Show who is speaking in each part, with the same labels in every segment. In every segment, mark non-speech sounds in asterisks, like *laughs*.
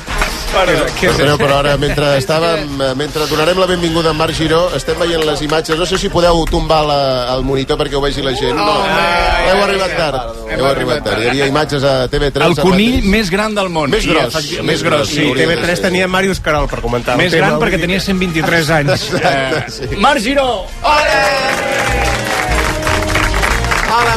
Speaker 1: però... Què és
Speaker 2: Però, però ara, mentre estàvem, eh, mentre donarem la benvinguda a Marc Giró, estem veient les imatges. No sé si podeu tombar la, el monitor perquè ho vegi la gent. No, heu arribat tard. Heu arribat tard. Hi havia imatges a TV3.
Speaker 3: El conill més gran del món.
Speaker 2: Més gros.
Speaker 3: efecti- Més gros, sí.
Speaker 1: Sí,
Speaker 2: Hauria de
Speaker 1: TV3
Speaker 2: ser.
Speaker 1: tenia Màrius Carol per comentar.
Speaker 3: Més gran perquè tenia
Speaker 2: *laughs*
Speaker 3: 123 anys. Eh,
Speaker 2: Exacte, sí.
Speaker 3: Marc Giró!
Speaker 4: Hola,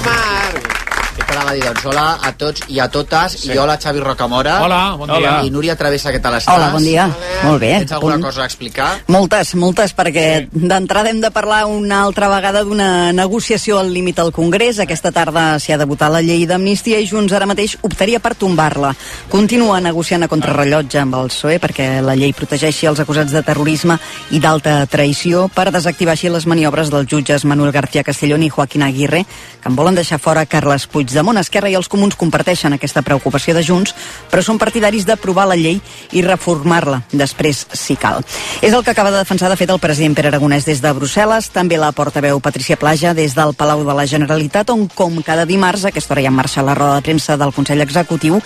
Speaker 4: Marc! Esperava dir, doncs, hola a tots i a totes, sí. i hola, Xavi Rocamora.
Speaker 5: Hola, bon dia.
Speaker 4: I Núria Travessa, què tal estàs?
Speaker 6: Hola, bon dia. Molt bé.
Speaker 4: Tens alguna
Speaker 6: Punt.
Speaker 4: cosa a explicar?
Speaker 6: Moltes, moltes, perquè d'entrada hem de parlar una altra vegada d'una negociació al límit al Congrés. Aquesta tarda s'hi ha de votar la llei d'amnistia i Junts ara mateix optaria per tombar-la. Continua negociant a contrarrellotge amb el PSOE perquè la llei protegeixi els acusats de terrorisme i d'alta traïció per desactivar així les maniobres dels jutges Manuel García Castellón i Joaquín Aguirre, que en volen deixar fora Carles Puigdemont. Esquerra i els comuns comparteixen aquesta preocupació de Junts, però són partidaris d'aprovar la llei i reformar-la després, si cal. És el que acaba de defensar, de fet, el president Pere Aragonès des de Brussel·les, també la portaveu Patricia Plaja des del Palau de la Generalitat, on, com cada dimarts, a aquesta hora ja en marxa la roda de premsa del Consell Executiu,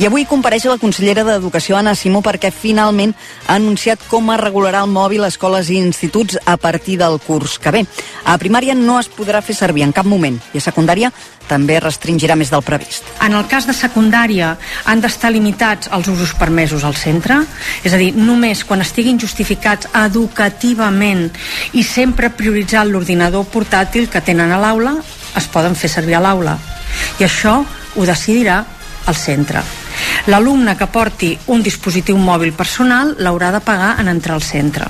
Speaker 6: i avui compareix la consellera d'Educació, Anna Simó, perquè finalment ha anunciat com es regularà el mòbil a escoles i instituts a partir del curs que ve. A primària no es podrà fer servir en cap moment, i a secundària també es restringirà més del previst.
Speaker 7: En el cas de secundària han d'estar limitats els usos permesos al centre, és a dir, només quan estiguin justificats educativament i sempre prioritzant l'ordinador portàtil que tenen a l'aula, es poden fer servir a l'aula. I això ho decidirà el centre. L'alumne que porti un dispositiu mòbil personal l'haurà de pagar en entrar al centre.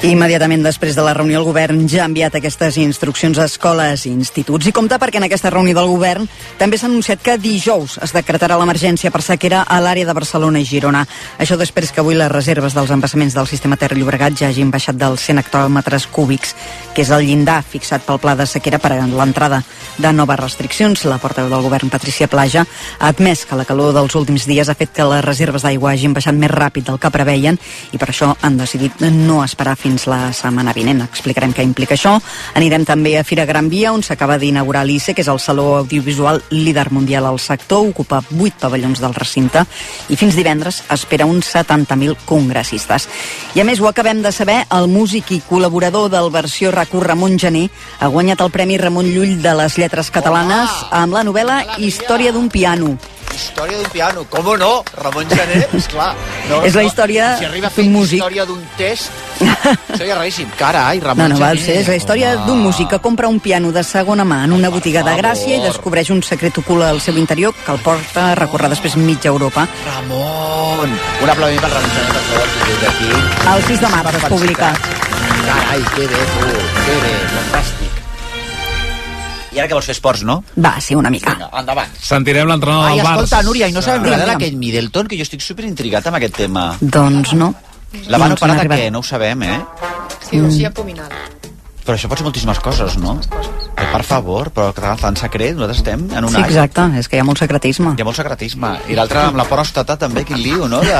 Speaker 6: Immediatament després de la reunió, el govern ja ha enviat aquestes instruccions a escoles i instituts. I compta perquè en aquesta reunió del govern també s'ha anunciat que dijous es decretarà l'emergència per sequera a l'àrea de Barcelona i Girona. Això després que avui les reserves dels embassaments del sistema Ter Llobregat ja hagin baixat dels 100 hectòmetres cúbics, que és el llindar fixat pel pla de sequera per a l'entrada de noves restriccions. La portaveu del govern, Patricia Plaja, ha admès que la calor dels últims dies ha fet que les reserves d'aigua hagin baixat més ràpid del que preveien i per això han decidit no esperar fins la setmana vinent. Explicarem què implica això. Anirem també a Fira Gran Via, on s'acaba d'inaugurar l'ICE, que és el saló audiovisual líder mundial al sector, ocupa 8 pavellons del recinte i fins divendres espera uns 70.000 congressistes. I a més ho acabem de saber, el músic i col·laborador del versió RAC1 Ramon Gené ha guanyat el Premi Ramon Llull de les Lletres Catalanes amb la novel·la Història d'un piano.
Speaker 4: Història d'un piano, com o no? Ramon Gené, *laughs* esclar. No,
Speaker 6: És la història
Speaker 4: Si arriba a fer
Speaker 6: d'un músic.
Speaker 4: història d'un
Speaker 6: *laughs*
Speaker 4: test, seria raríssim. Carai,
Speaker 6: No,
Speaker 4: Ramon
Speaker 6: no, val, sí,
Speaker 4: Gené.
Speaker 6: és la història d'un músic que compra un piano de segona mà en una botiga de
Speaker 4: favor.
Speaker 6: Gràcia i descobreix un secret ocult al seu interior que el porta a recórrer després mitja Europa.
Speaker 4: Ramon! Un aplaudiment per Ramon Gené, per favor, si des d'aquí.
Speaker 6: El 6 de març es publica.
Speaker 4: Carai, que bé, tu. Que bé, fantàstic. I ara que vols fer esports, no?
Speaker 6: Va, sí, una mica.
Speaker 4: Vinga, endavant.
Speaker 5: Sentirem l'entrenador
Speaker 4: Ai,
Speaker 5: del Barça.
Speaker 4: escolta, Núria, i no sabem
Speaker 6: Digue'm,
Speaker 4: res
Speaker 6: digue'm.
Speaker 4: d'aquest Middleton, que jo estic superintrigat amb aquest tema.
Speaker 6: Doncs no.
Speaker 4: La van
Speaker 6: No ens n'ha
Speaker 4: operar de
Speaker 6: arribat.
Speaker 4: què? No ho sabem, eh?
Speaker 8: Cirurgia
Speaker 6: Mm.
Speaker 8: abdominal.
Speaker 4: Però això pots moltíssimes coses, no? Eh, per favor, però que tant secret, nosaltres estem en un
Speaker 6: Sí,
Speaker 4: any.
Speaker 6: exacte, és que hi ha molt secretisme.
Speaker 4: Hi ha molt secretisme. I l'altre amb la pròstata també, quin liu, no? De...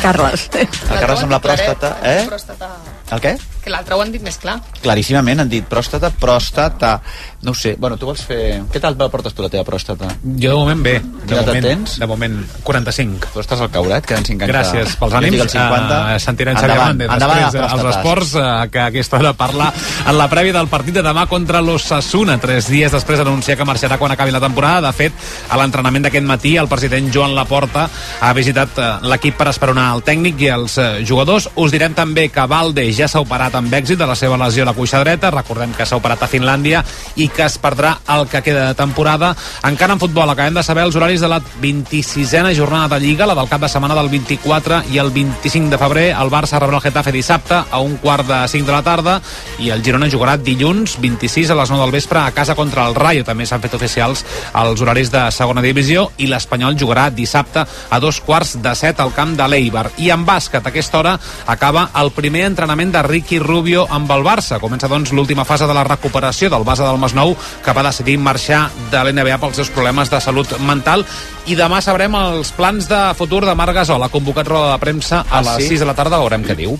Speaker 6: Carles.
Speaker 4: El Carles amb la pròstata, eh?
Speaker 8: Pròstata.
Speaker 4: El què?
Speaker 8: Que l'altre ho han dit més clar.
Speaker 4: Claríssimament han dit pròstata, pròstata. No ho sé, bueno, tu vols fer... Què tal la portes tu, la teva pròstata?
Speaker 5: Jo de moment bé.
Speaker 4: Quina
Speaker 5: De
Speaker 4: edat
Speaker 5: moment,
Speaker 4: tens?
Speaker 5: de moment 45.
Speaker 4: Tu estàs al caurat, queden 50.
Speaker 5: Gràcies pels
Speaker 4: Jo
Speaker 5: ànims.
Speaker 4: estic al 50.
Speaker 5: Eh, sentirem Xavier
Speaker 4: endavant,
Speaker 5: Hernández
Speaker 4: endavant,
Speaker 5: després als
Speaker 4: pròstates.
Speaker 5: esports, eh, que a aquesta hora parla en la prèvia del partit de demà contra l'Ossassuna. Tres dies després d'anunciar que marxarà quan acabi la temporada. De fet, a l'entrenament d'aquest matí, el president Joan Laporta ha visitat eh, l'equip per esperonar el tècnic i els eh, jugadors. Us direm també que Valde ja s'ha operat amb èxit de la seva lesió a la cuixa dreta. Recordem que s'ha operat a Finlàndia i que es perdrà el que queda de temporada. Encara en futbol, acabem de saber els horaris de la 26a jornada de Lliga, la del cap de setmana del 24 i el 25 de febrer. El Barça rebrà el Getafe dissabte a un quart de 5 de la tarda i el Girona jugarà dilluns 26 a les 9 del vespre a casa contra el Rayo. També s'han fet oficials els horaris de segona divisió i l'Espanyol jugarà dissabte a dos quarts de 7 al camp de l'Eibar. I en bàsquet, a aquesta hora acaba el primer entrenament de Ricky Rubio amb el Barça. Comença, doncs, l'última fase de la recuperació del base del Masnou, que va decidir marxar de l'NBA pels seus problemes de salut mental. I demà sabrem els plans de futur de Marc Gasol. Ha convocat roda de premsa
Speaker 4: Ah,
Speaker 5: a les
Speaker 4: sí?
Speaker 5: 6 de la tarda, veurem què diu.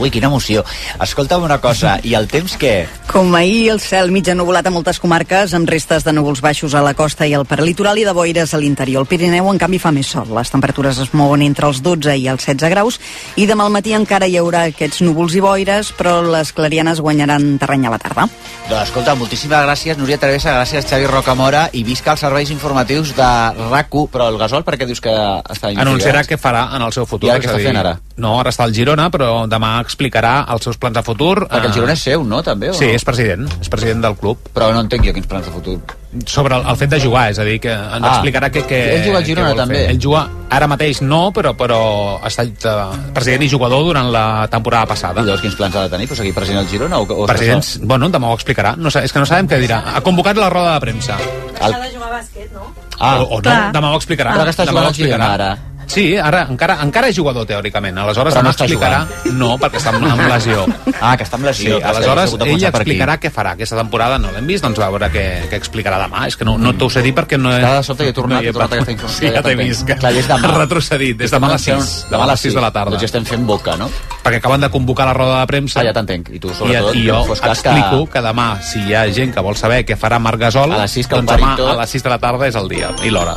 Speaker 4: Ui, quina emoció. Escolta'm una cosa, i el temps què?
Speaker 6: Com ahir, el cel mig ennuvolat a moltes comarques, amb restes de núvols baixos a la costa i al perlitoral i de boires a l'interior. El Pirineu, en canvi, fa més sol. Les temperatures es mouen entre els 12 i els 16 graus i demà al matí encara hi haurà aquests núvols i boires, però les clarianes guanyaran terreny a la tarda.
Speaker 4: Doncs escolta, moltíssimes gràcies, Núria Travessa, gràcies Xavi Rocamora, i visca els serveis informatius de RAC1, però el gasol per què dius que està
Speaker 5: Anunciarà què farà en el seu futur.
Speaker 4: I ara què
Speaker 5: és
Speaker 4: està
Speaker 5: a dir,
Speaker 4: fent ara?
Speaker 5: No, ara està al Girona, però demà explicarà els seus plans a futur. eh,
Speaker 4: Perquè el Girona és seu, no, també? O
Speaker 5: Sí,
Speaker 4: no?
Speaker 5: és president, és president del club.
Speaker 4: Però no entenc jo quins plans de futur.
Speaker 5: Sobre el, el fet de jugar, és a dir, que ens
Speaker 4: Ah.
Speaker 5: explicarà què, què,
Speaker 4: Ell juga al
Speaker 5: què
Speaker 4: Girona,
Speaker 5: vol fer.
Speaker 4: també.
Speaker 5: Ell juga ara mateix no, però, però ha estat eh, president i jugador durant la temporada
Speaker 4: I
Speaker 5: passada.
Speaker 4: llavors quins plans ha de tenir? Pues seguir president el Girona? O, o
Speaker 5: Presidents, bueno, demà ho explicarà. No, sé- és que no sabem què dirà. Ha convocat la roda de premsa.
Speaker 4: El...
Speaker 9: de jugar a bàsquet, no?
Speaker 4: Ah,
Speaker 5: o, o no,
Speaker 10: Clar.
Speaker 5: demà ho explicarà.
Speaker 4: Però que està
Speaker 5: Demà
Speaker 4: jugant
Speaker 5: ho
Speaker 4: al Girona,
Speaker 5: explicarà.
Speaker 4: ara.
Speaker 5: Sí, ara encara, encara és jugador, teòricament. Aleshores
Speaker 4: Però
Speaker 5: demà
Speaker 4: no està
Speaker 5: explicarà... No, perquè està amb, amb lesió.
Speaker 4: *laughs* Ah, que està amb
Speaker 5: Sí,
Speaker 4: lesió. Clar, és que
Speaker 5: aleshores
Speaker 4: hagués hagut de
Speaker 5: ell
Speaker 4: començar per aquí.
Speaker 5: explicarà què farà. Aquesta temporada no l'hem vist, doncs a veure què, què explicarà demà. És que no, no t'ho sé dir perquè no he...
Speaker 4: Cada sobte hi he tornat,
Speaker 5: hi
Speaker 4: he tornat aquesta informació,
Speaker 5: Sí, ja
Speaker 4: ja
Speaker 5: t'he
Speaker 4: t'entenc.
Speaker 5: vist. Que...
Speaker 4: Clar, i és demà.
Speaker 5: *laughs* Retrocedit, des demà a les 6. Demà a les 6 de la tarda.
Speaker 4: Doncs ja estem fent boca, no?
Speaker 5: Perquè acaben de convocar la roda de premsa.
Speaker 4: Ah, ja t'entenc. I tu, sobretot,
Speaker 5: I, i
Speaker 4: que
Speaker 5: jo
Speaker 4: no fos cas que-
Speaker 5: explico que... demà, si hi ha gent que vol saber què farà Marc Gasol,
Speaker 4: A les sis que el
Speaker 5: doncs demà
Speaker 4: Paritó-
Speaker 5: a les 6 de la tarda és el dia i l'hora.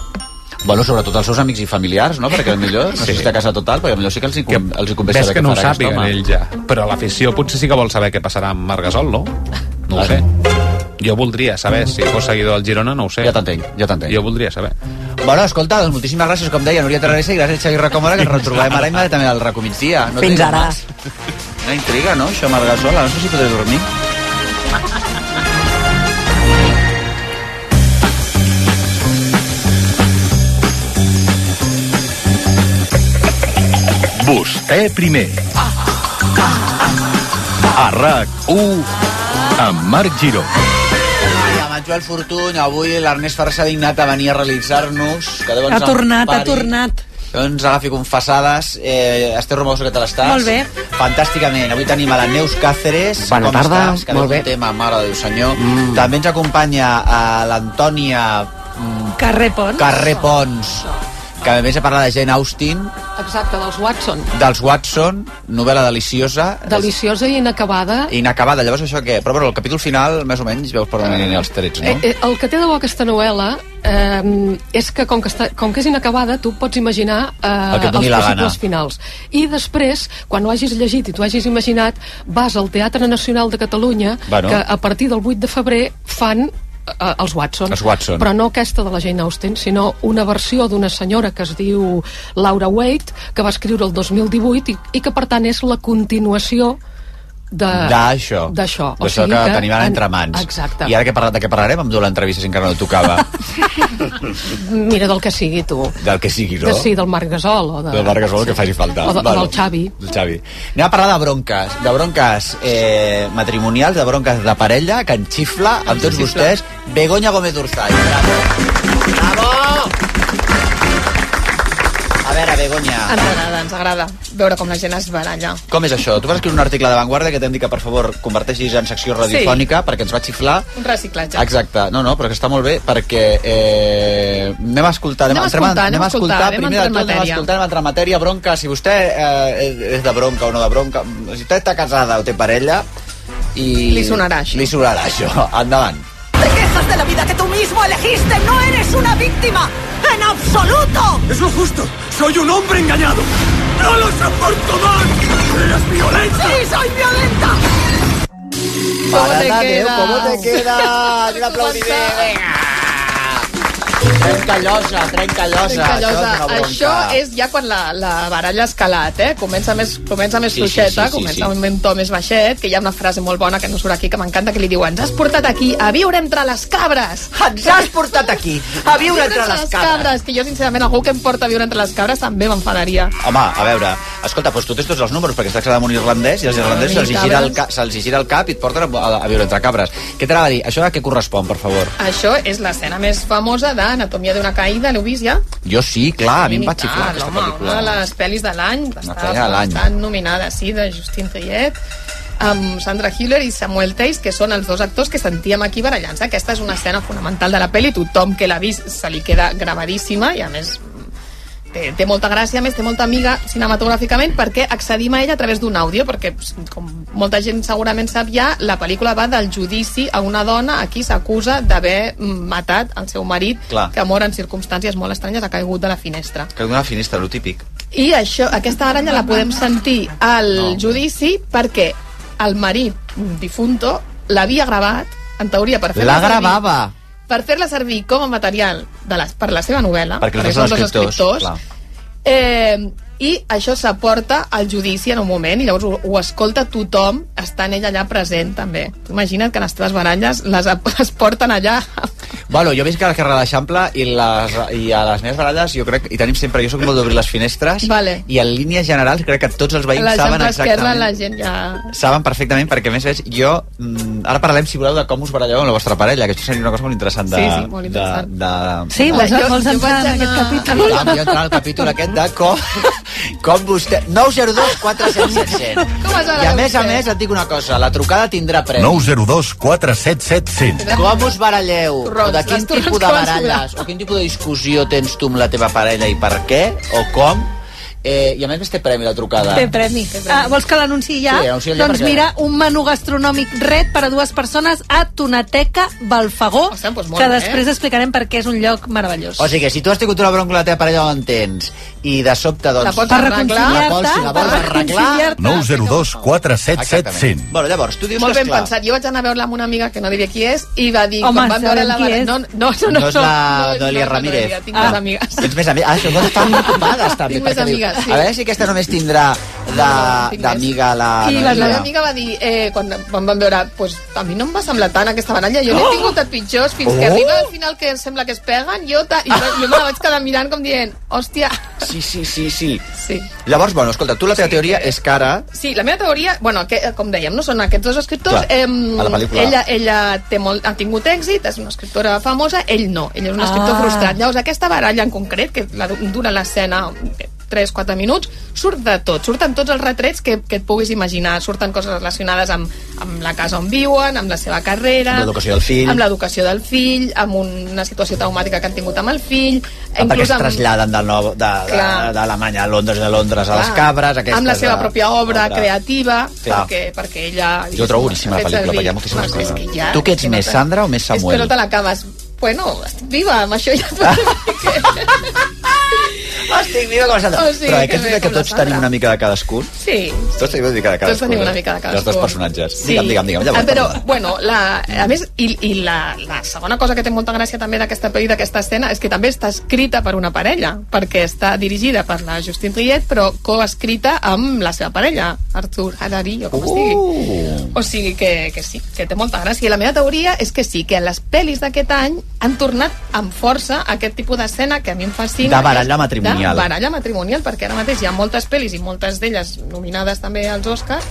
Speaker 4: Bueno, sobretot els seus amics i familiars, no? Perquè millor no
Speaker 5: Sí.
Speaker 4: sí. sé si casa total, perquè millor sí que els hi,
Speaker 5: Que
Speaker 4: com, els hi convé
Speaker 5: ves
Speaker 4: saber
Speaker 5: que no ho
Speaker 4: què farà aquest
Speaker 5: sàpiguen
Speaker 4: home.
Speaker 5: ell ja. Però l'afició potser sí que vol saber què passarà amb Marc Gasol, no? No ho
Speaker 4: Clar.
Speaker 5: sé. Jo voldria saber, si fos seguidor del Girona, no ho sé.
Speaker 4: Ja t'entenc, ja t'entenc.
Speaker 5: Jo voldria saber.
Speaker 4: Bueno, escolta, doncs moltíssimes gràcies, com deia, Núria Terrassa i gràcies Xavi Rocamora, que ens retrobem ara immediatament al recomitzia. No
Speaker 6: Fins
Speaker 4: tenim
Speaker 6: ara.
Speaker 4: Més. Una intriga, no, això, Margasola? No sé si podré dormir.
Speaker 11: Vostè primer. A RAC1 amb Marc Giró.
Speaker 4: I amb en Joel Fortuny, avui l'Ernest Ferrer s'ha dignat a venir a realitzar-nos. que deu ens
Speaker 9: Ha tornat,
Speaker 4: empari.
Speaker 9: ha tornat.
Speaker 4: Deu Ens Doncs agafi confessades. Eh, Esther Romagosa, què tal estàs?
Speaker 9: Molt bé.
Speaker 4: Fantàsticament. Avui tenim a la Neus Cáceres.
Speaker 12: Bona
Speaker 4: Com
Speaker 12: tarda,
Speaker 4: Estàs? Que
Speaker 12: molt
Speaker 4: té
Speaker 12: bé.
Speaker 4: un
Speaker 12: Mm.
Speaker 4: tema, mare de Déu senyor. També ens acompanya a l'Antònia mm,
Speaker 9: Carrer Pons.
Speaker 4: Carrer Pons, que a més a parlar de Jane Austen,
Speaker 13: Exacte, dels Watson.
Speaker 4: dels Watson, novel·la deliciosa,
Speaker 13: Deliciosa i inacabada.
Speaker 4: inacabada. Llavors això què? Però bueno, el capítol final, més o menys, veus per on aniran els trets, no?
Speaker 13: Eh, eh, el que té de bo aquesta novel·la eh, és que com que, està, com que és inacabada tu pots imaginar eh,
Speaker 4: El que et
Speaker 13: els
Speaker 4: doni la
Speaker 13: possibles
Speaker 4: gana.
Speaker 13: finals i després, quan ho hagis llegit i t'ho hagis imaginat, vas al Teatre Nacional de Catalunya
Speaker 4: Bueno.
Speaker 13: que a partir del 8 de febrer fan eh, els Watson.
Speaker 4: Els Watson.
Speaker 13: Però no aquesta de la Jane Austen, sinó una versió d'una senyora que es diu Laura Waite, que va escriure el 2018 i, i que per tant és la continuació de-
Speaker 4: D'això.
Speaker 13: Eh, D'això. O
Speaker 4: D'això
Speaker 13: sigui
Speaker 4: que, tenim ara entre mans.
Speaker 13: Exacte.
Speaker 4: I ara que he parlat de què parlarem, em du l'entrevista si encara no
Speaker 13: *laughs*
Speaker 4: tocava.
Speaker 13: Mira del que sigui, tu.
Speaker 4: del que sigui, no?
Speaker 13: De, sí, del Marc Gasol. O de...
Speaker 4: Del Vargas Bola, que faci falta.
Speaker 13: O de- o del Xavi.
Speaker 4: Del Xavi. Anem a parlar de bronques, de bronques eh, matrimonials, de bronques de parella, que en xifla amb tots vostès Begoña Gómez Urzay. Bravo! Bravo! A veure, Begoña,
Speaker 13: Ens agrada, ens agrada veure com la gent es baralla.
Speaker 4: com és això? Tu vas escriure un article de Vanguardia que t'hem dit que, per favor, converteixis en secció radiofònica perquè ens va xiflar
Speaker 13: Un reciclatge.
Speaker 4: Exacte, no, no, però que està molt bé perquè eh, anem a escoltar,
Speaker 13: Anem a
Speaker 4: entrem-
Speaker 13: escoltar,
Speaker 4: anem a escoltar,
Speaker 13: anem a
Speaker 4: primer de
Speaker 13: entrar
Speaker 4: tot
Speaker 13: en
Speaker 4: anem a
Speaker 13: matèria.
Speaker 4: escoltar, anem a entrar en matèria, bronca, si vostè eh, és de bronca o no de bronca, si vostè està casada o té parella, i...
Speaker 13: Li sonarà això.
Speaker 4: Li sonarà això, endavant.
Speaker 9: Te quejas de la vida que tú mismo elegiste. No eres una víctima. En absoluto.
Speaker 11: Es lo justo. Soy un hombre engañado. No lo soporto más. Eres violenta.
Speaker 9: Sí, soy violenta.
Speaker 13: ¿Cómo
Speaker 4: Mare
Speaker 13: te
Speaker 4: de Déu,
Speaker 13: quedas?
Speaker 4: com te quedas? Un aplaudiment, vinga! Trenca llosa, trenca llosa.
Speaker 13: Callosa,
Speaker 4: bronca.
Speaker 13: això és ja quan la, la baralla ha escalat, eh? Comença més, comença més
Speaker 4: Sí, sí, sí,
Speaker 13: fluixeta,
Speaker 4: sí,
Speaker 13: comença
Speaker 4: sí.
Speaker 13: amb un to més baixet, que hi ha una frase molt bona que no surt aquí, que m'encanta, que li diu ens has portat aquí a viure entre les cabres.
Speaker 12: Ens has portat aquí, a viure entre les cabres.
Speaker 13: Que jo, sincerament, algú que em porta a viure entre les cabres també m'enfadaria.
Speaker 4: Home, a veure, escolta, doncs tu tens tots els números, perquè estàs quedant amb un irlandès i els irlandesos se'ls hi gira, el ca- se'ls hi gira el cap i et porten a, a, a viure entre cabres. Què t'anava a dir? Això a què correspon, per favor?
Speaker 13: Això és l'escena més famosa d'Anatomia d'una caïda, l'heu vist ja?
Speaker 4: Jo sí, clar, a mi em va
Speaker 13: Militar,
Speaker 4: xiflar aquesta
Speaker 13: home,
Speaker 4: pel·lícula.
Speaker 13: Una de les pel·lis de l'any,
Speaker 4: pel·li de
Speaker 13: bastant,
Speaker 4: l'any. eh?
Speaker 13: bastant nominada, sí, de Justin Triet, amb Sandra Hüller i Samuel Tays, que són els dos actors que sentíem aquí barallant-se. Aquesta és una escena fonamental de la pel·li, tothom que l'ha vist se li queda gravadíssima i, a més,
Speaker 8: té, té molta gràcia, a més té molta amiga cinematogràficament perquè accedim a ella a través d'un àudio perquè pues, com molta gent segurament sap ja, la pel·lícula va del judici a una dona a qui s'acusa d'haver matat el seu marit
Speaker 4: Clar.
Speaker 8: que mor en circumstàncies molt estranyes, ha caigut de la finestra
Speaker 4: Que d'una finestra, lo típic.
Speaker 8: i això, aquesta baralla la podem sentir al no. judici perquè el marit difunto l'havia gravat, en teoria, per
Speaker 4: La
Speaker 8: fer-la servir-
Speaker 4: gravava.
Speaker 8: per fer-la servir com a material de les, per la seva novel·la,
Speaker 4: Perquè els dos
Speaker 8: són
Speaker 4: són
Speaker 8: dos
Speaker 4: escriptors.
Speaker 8: escriptors
Speaker 4: clar.
Speaker 8: eh, i això s'aporta al judici en un moment i llavors ho, ho escolta tothom estant ella allà present també. Tu Imagina't que les teves baralles les, les porten allà
Speaker 4: Bueno, jo visc a la carrera d'Eixample i, les, i a les meves baralles jo crec, i tenim sempre, jo sóc molt d'obrir les finestres
Speaker 8: Vale.
Speaker 4: i en línies generals crec que tots els
Speaker 8: a
Speaker 4: veïns
Speaker 8: la gent
Speaker 4: saben
Speaker 8: esquerra
Speaker 4: exactament
Speaker 8: la gent ja...
Speaker 4: saben perfectament perquè a més veig, jo mm, ara parlem si voleu de com us baralleu amb la vostra parella que això seria una cosa molt interessant de,
Speaker 8: Sí, sí, molt interessant.
Speaker 4: de, de, Ah,
Speaker 7: Sí, vols,
Speaker 8: Jo- jo
Speaker 7: vols
Speaker 8: vaig
Speaker 7: entrar en aquest capítol?
Speaker 4: Clar, vull entrar al capítol aquest de com, *laughs* com vostè... 902 4777.
Speaker 8: Com es
Speaker 4: I a
Speaker 8: baralla
Speaker 4: més a
Speaker 8: vostè?
Speaker 4: més et dic una cosa, la trucada tindrà premi.
Speaker 1: 902 477
Speaker 9: Ah,
Speaker 1: 100.
Speaker 4: Com us baralleu?
Speaker 12: Torrons,
Speaker 4: o de
Speaker 12: les
Speaker 4: quin
Speaker 12: torrons
Speaker 4: tipus de
Speaker 12: que van
Speaker 4: baralles?
Speaker 12: sobrar.
Speaker 4: O quin tipus de discussió tens tu amb la teva parella i per què? O com? Eh, I a més més té premi la trucada.
Speaker 7: Té premi. Ah, vols que l'anunciï ja?
Speaker 4: Sí, anuncia ja
Speaker 7: doncs
Speaker 4: perquè-
Speaker 7: mira, un menú gastronòmic red per a dues persones a Tonateca Balfagó,
Speaker 4: doncs molt bé.
Speaker 7: que
Speaker 4: eh?
Speaker 7: després explicarem per què és un lloc meravellós.
Speaker 4: O sigui que si tu has tingut una bronca amb la teva parella on tens i de sobte doncs...
Speaker 7: La pots Per arreglar. reconciliar-te,
Speaker 4: La vols, si la vols
Speaker 7: per
Speaker 4: arreglar...
Speaker 7: reconciliar-te.
Speaker 1: 902 477 100.
Speaker 4: Bueno, llavors, tu dius
Speaker 8: Molt
Speaker 4: que,
Speaker 8: ben
Speaker 4: esclar,
Speaker 8: pensat. Jo vaig anar a veure-la amb una amiga que no diria qui és i va dir...
Speaker 7: Home,
Speaker 8: quan vam veure
Speaker 7: sabem
Speaker 8: la
Speaker 7: qui
Speaker 8: baralla-
Speaker 7: és.
Speaker 8: No, no, no, no,
Speaker 4: No és
Speaker 8: no,
Speaker 4: la
Speaker 8: no,
Speaker 4: Dòlia
Speaker 8: no és la
Speaker 4: Ramírez.
Speaker 8: Dòlia, Tinc més
Speaker 4: Ah.
Speaker 8: amigues.
Speaker 4: Tens més amigues? Ah, són dos tan ocupades, també.
Speaker 8: *laughs* Tinc més
Speaker 4: perquè dius,
Speaker 8: amigues, sí.
Speaker 4: A veure si aquesta només tindrà de- d'amiga la...
Speaker 8: I
Speaker 4: Noelia.
Speaker 8: la meva amiga va dir, eh, quan, quan vam veure, pues, a mi no em va semblar tant aquesta baralla, jo n'he
Speaker 4: Oh!
Speaker 8: tingut de pitjors, fins que
Speaker 4: Oh!
Speaker 8: arriba al final que em sembla que es peguen, jo, ta, jo, jo me la vaig quedar mirant com dient, hòstia...
Speaker 4: Sí, sí, sí, sí.
Speaker 8: Sí.
Speaker 4: Llavors, bueno, escolta, tu la teva teoria és que ara...
Speaker 8: Sí, la meva teoria, bueno, que, eh, com dèiem, no són aquests dos escriptors.
Speaker 4: Clar, a la pel·lícula.
Speaker 8: ella ella té molt, ha tingut èxit, és una escriptora famosa, ell no, ell és un escriptor
Speaker 7: Ah.
Speaker 8: frustrat. Llavors, aquesta baralla en concret, que la, du- dura l'escena 3-4 minuts, surt de tot. Surten tots els retrets que, que et puguis imaginar. Surten coses relacionades amb, amb la casa on viuen, amb la seva carrera...
Speaker 4: Amb l'educació del fill.
Speaker 8: Amb l'educació del fill, amb una situació traumàtica que han tingut amb el fill...
Speaker 4: Ah, perquè es
Speaker 8: amb-
Speaker 4: traslladen del nou, de, de,
Speaker 8: Clar.
Speaker 4: d'Alemanya a Londres, de Londres a les
Speaker 8: Clar,
Speaker 4: cabres... Aquestes,
Speaker 8: amb la seva
Speaker 4: de-
Speaker 8: pròpia obra,
Speaker 4: obra.
Speaker 8: creativa,
Speaker 4: Clar.
Speaker 8: perquè, perquè ella...
Speaker 4: Jo trobo boníssima la
Speaker 8: fet
Speaker 4: pel·lícula,
Speaker 8: servir-
Speaker 4: perquè hi ha moltíssimes
Speaker 8: No, és que ja-
Speaker 4: coses. Tu què ets més, Sandra o més
Speaker 8: És que
Speaker 4: Samuel?
Speaker 8: no te l'acabes. Bueno, estic viva, amb això
Speaker 4: *laughs*
Speaker 8: ja... estic
Speaker 4: viva com Sandra.
Speaker 8: O sigui,
Speaker 4: Però aquest
Speaker 8: bé,
Speaker 4: és que
Speaker 8: com la
Speaker 4: tots
Speaker 8: Sandra.
Speaker 4: tenim una mica de cadascun.
Speaker 8: Sí.
Speaker 4: Tots tenim una mica de cadascun.
Speaker 8: Tots tenim una mica de
Speaker 4: eh?
Speaker 8: cadascun.
Speaker 4: Dels dos personatges. Digue'm, digue'm, digue'm.
Speaker 8: Ah,
Speaker 4: Llavors,
Speaker 8: però,
Speaker 4: perdona.
Speaker 8: bueno, la, a més, i, i la, la segona cosa que té molta gràcia també d'aquesta pel·li, d'aquesta escena, és que també està escrita per una parella, perquè està dirigida per la Justine Triet, però coescrita amb la seva parella, Arthur Harari, o com es digui.
Speaker 4: Uh!
Speaker 8: O sigui que, que sí, que té molta gràcia. I la meva teoria és que sí, que les pel·lis d'aquest any han tornat amb força aquest tipus d'escena que a mi em fascina.
Speaker 4: De baralla matrimonial.
Speaker 8: De baralla matrimonial, perquè ara mateix hi ha moltes pel·lis i moltes d'elles nominades també als Oscars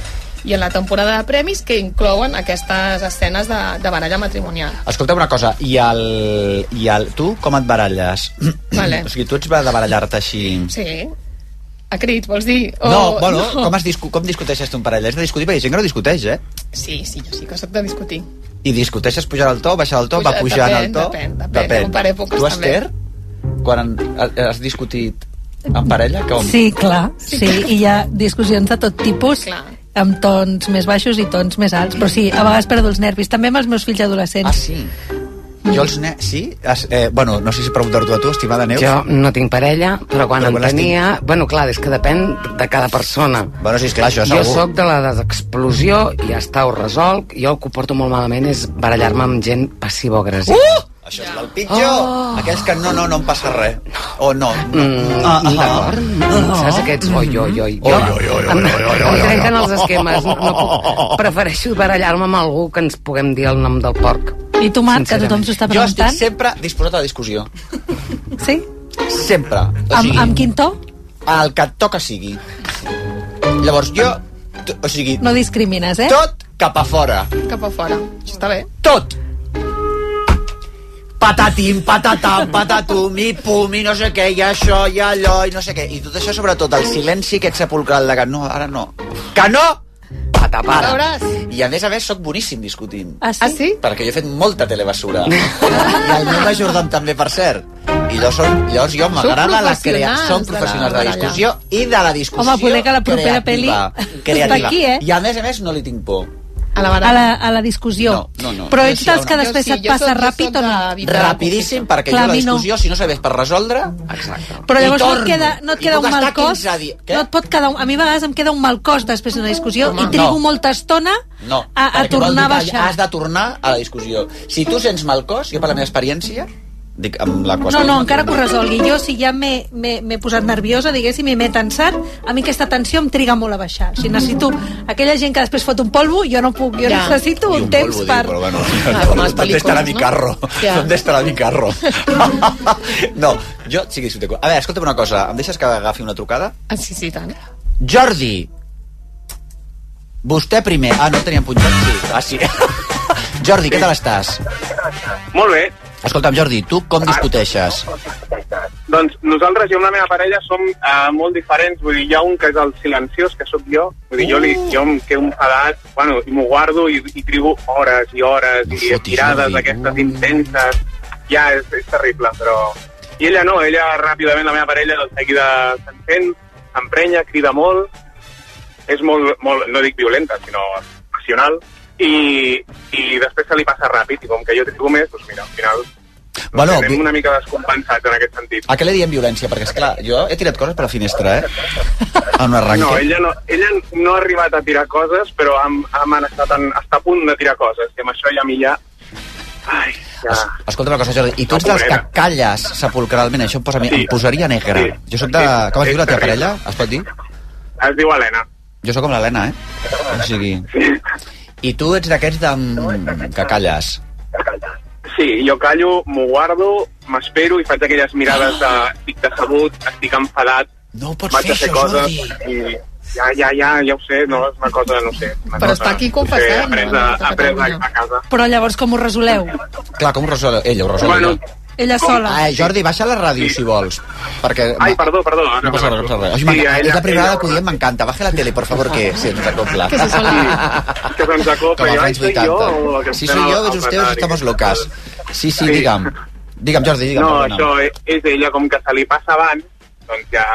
Speaker 8: i en la temporada de premis que inclouen aquestes escenes de, de baralla matrimonial.
Speaker 4: Escolta una cosa, i el, i el, tu com et baralles?
Speaker 8: *clears throat* Vale.
Speaker 4: O sigui, tu ets de barallar-te així...
Speaker 8: Sí. A crits, vols dir? O...
Speaker 4: No, bueno, Com, es discu com discuteixes tu en parella? És de discutir perquè hi ha gent que no discuteix, eh?
Speaker 8: Sí, sí, jo sí que soc de discutir.
Speaker 4: I discuteixes pujar el to, baixar el to, va
Speaker 8: Puja-
Speaker 4: pujant
Speaker 8: depèn,
Speaker 4: el to...
Speaker 8: depèn, depèn, hi ha per èpoques
Speaker 4: tu,
Speaker 8: també.
Speaker 4: Esther, quan en- has discutit en parella, com...
Speaker 7: Sí, clar, sí, i hi ha discussions de tot tipus, clar. amb tons més baixos i tons més alts, però sí, a vegades perdo els nervis, també amb els meus fills
Speaker 4: Ah,
Speaker 7: adolescents.
Speaker 4: sí? Jo els ne... Sí? Es, eh, bueno, no sé si preguntar-t'ho a tu, estimada Neus.
Speaker 14: Jo no tinc parella, però quan
Speaker 4: Però
Speaker 14: en
Speaker 4: quan Uh! les
Speaker 14: tenia... Bueno, clar, és que depèn de cada persona.
Speaker 4: Bueno, sí, esclar, això
Speaker 14: jo
Speaker 4: segur.
Speaker 14: sóc de la desexplosió i ja està, ho resolc. Jo el que ho porto molt malament és barallar-me amb gent passivo-agressiva.
Speaker 4: Uh! Això és el pitjor. Oh. Aquells que no, no, no em passa res. O no. Mm, ah, ah,
Speaker 14: D'acord? Saps aquests... Oi, oi, oi. Jo, em, em trenquen els esquemes. No, no puc, prefereixo barallar-me amb algú que ens puguem dir el nom del porc.
Speaker 7: I tu, Marc, que tothom s'ho està
Speaker 4: Jo estic
Speaker 7: preguntant,
Speaker 4: sempre disposat a la discussió.
Speaker 7: Sí?
Speaker 4: Sempre. O
Speaker 7: amb,
Speaker 4: sigui,
Speaker 7: amb quin to?
Speaker 4: el que et toca sigui. Llavors jo, t- o sigui,
Speaker 7: No discrimines, eh?
Speaker 4: tot cap a fora.
Speaker 8: Cap a fora. Això està bé.
Speaker 4: Tot. Patatim, patatam, patatum, i pum, i no sé què, i això, i allò, i no sé què. I tot això, sobretot, el silenci aquest sepulcral de que no, ara no. Que no! a tapar.
Speaker 8: Ho veuràs.
Speaker 4: I a més a més sóc boníssim discutint.
Speaker 8: Ah, sí? Ah, sí?
Speaker 4: Perquè jo he fet molta
Speaker 7: *laughs*
Speaker 4: telebasura. I el meu Jordan també, per cert. I llavors, som, llavors jo m'agrada la crea...
Speaker 7: professionals
Speaker 4: Som
Speaker 7: de la-
Speaker 4: professionals de la
Speaker 7: baralla.
Speaker 4: discussió i de la discussió
Speaker 7: Home, poder que la propera
Speaker 4: creativa.
Speaker 7: peli està
Speaker 4: creativa.
Speaker 7: aquí, eh?
Speaker 4: I a més a més no li tinc por.
Speaker 8: A la,
Speaker 7: a la, a la discussió.
Speaker 4: No, no.
Speaker 7: Però
Speaker 4: Jo
Speaker 7: ets
Speaker 4: sí,
Speaker 7: dels
Speaker 4: home.
Speaker 7: que
Speaker 4: Jo
Speaker 7: després
Speaker 4: sí,
Speaker 7: et
Speaker 4: jo
Speaker 7: passa
Speaker 4: sóc- jo
Speaker 7: ràpid o no?
Speaker 4: Rapidíssim, perquè
Speaker 7: Clar,
Speaker 4: jo
Speaker 7: a
Speaker 4: la
Speaker 7: mi no.
Speaker 4: discussió, si no sabés per resoldre... Exacte.
Speaker 7: Però llavors no et queda, no et queda un mal cos? No et pot quedar, un- a mi a vegades em queda un mal cos després d'una discussió
Speaker 4: Home,
Speaker 7: i trigo
Speaker 4: no.
Speaker 7: molta estona
Speaker 4: No,
Speaker 7: a- a
Speaker 4: perquè vol
Speaker 7: tornar a
Speaker 4: dir que
Speaker 7: baixar.
Speaker 4: Has de tornar a la discussió. Si tu sents mal cos, jo per la meva experiència, dic amb la qüestió...
Speaker 7: No, no, encara que ho resolgui. Jo, si ja m'he- m'he m'he posat nerviosa, diguéssim, i m'he tensat, a mi aquesta tensió em triga molt a baixar. O sigui, necessito aquella gent que després fot un polvo, jo no puc, jo
Speaker 4: Ja.
Speaker 7: necessito un, temps
Speaker 4: Vull dir,
Speaker 7: per...
Speaker 4: Però bueno, *laughs* ¿dónde estará mi carro?
Speaker 7: Ja.
Speaker 4: ¿Dónde estará mi carro? *laughs* no, jo sí que discuteco. A veure, escolta'm una cosa, em deixes que agafi una trucada?
Speaker 8: Ah, sí, sí, i tant.
Speaker 4: Jordi, vostè primer. Ah, no el teníem puntat, sí. Ah, sí. *laughs* Jordi, què tal estàs?
Speaker 3: Molt bé.
Speaker 4: Escolta'm, Jordi, tu com discuteixes?
Speaker 3: Doncs nosaltres, jo amb la meva parella, som uh, molt diferents. Vull dir, hi ha un que és el silenciós, que sóc jo. Vull dir, jo, li, jo em quedo enfadat, bueno, i m'ho guardo i, i trigo hores i hores no i tirades d'aquestes intenses. Ja, és, és terrible, però... I ella no, ella ràpidament, la meva parella, de seguida s'encén, s'emprenya, crida molt, és molt, molt, no dic violenta, sinó passional, i, i després se li passa ràpid, i com que jo trigo més, doncs mira, al final
Speaker 4: Bueno,
Speaker 3: Anem una mica descompensats en aquest sentit.
Speaker 4: a què li diem violència? Perquè, és clar, jo he tirat coses per la finestra, eh? En un arranque.
Speaker 3: No, ella no, ella no ha arribat a tirar coses, però ha, ha amenaçat en, està a punt de tirar coses, i amb això ja a mi ja... Ai, ja...
Speaker 4: Escolta una cosa, Jordi, i tu ets dels que calles sepulcralment, això em, posa, mi- em posaria negre. Jo sóc de... Com es diu la teva parella? Es pot dir?
Speaker 3: Es diu Helena.
Speaker 4: Jo sóc com l'Helena, eh? O sigui... I tu ets d'aquests de... mm, que calles.
Speaker 3: Sí, jo callo, m'ho guardo, m'espero i faig aquelles mirades de... Estic decebut, estic enfadat,
Speaker 4: no ho
Speaker 3: vaig a fer coses... I, ja, ja, ja, ja ho sé, no, és una cosa, no ho sé. Una
Speaker 7: Però
Speaker 3: cosa,
Speaker 7: està aquí
Speaker 3: no ho sé,
Speaker 7: confessant,
Speaker 3: Apresa, apresa a casa.
Speaker 7: Però llavors com ho resoleu?
Speaker 4: Clar, com ho resol? Ella ho resol.
Speaker 3: Bueno,
Speaker 4: ella.
Speaker 7: Ella sola.
Speaker 4: Ah, eh, Jordi, baixa la ràdio, si vols. Perquè...
Speaker 3: Ai, perdó, perdó.
Speaker 4: No passa res, no passa res. Ai,
Speaker 3: Sí,
Speaker 4: m'encanta.
Speaker 3: ella-
Speaker 4: és la primera
Speaker 3: ella-
Speaker 4: vegada que ho diem, m'encanta. Baja la tele, per favor, que se ens acopla.
Speaker 3: Que se sol- Que se'ns acopla.
Speaker 4: Com
Speaker 3: jo,
Speaker 4: als
Speaker 3: ai,
Speaker 4: anys
Speaker 3: soy yo, o que
Speaker 4: 80. Si
Speaker 3: estem
Speaker 4: soy
Speaker 3: al-
Speaker 4: yo,
Speaker 3: al
Speaker 4: ves ustedes,
Speaker 3: plenari.
Speaker 4: estamos locas. Sí, sí, digue'm. Digue'm, Jordi, digue'm.
Speaker 3: No,
Speaker 4: perdona.
Speaker 3: això és, és ella, com que se li passa abans, doncs ja...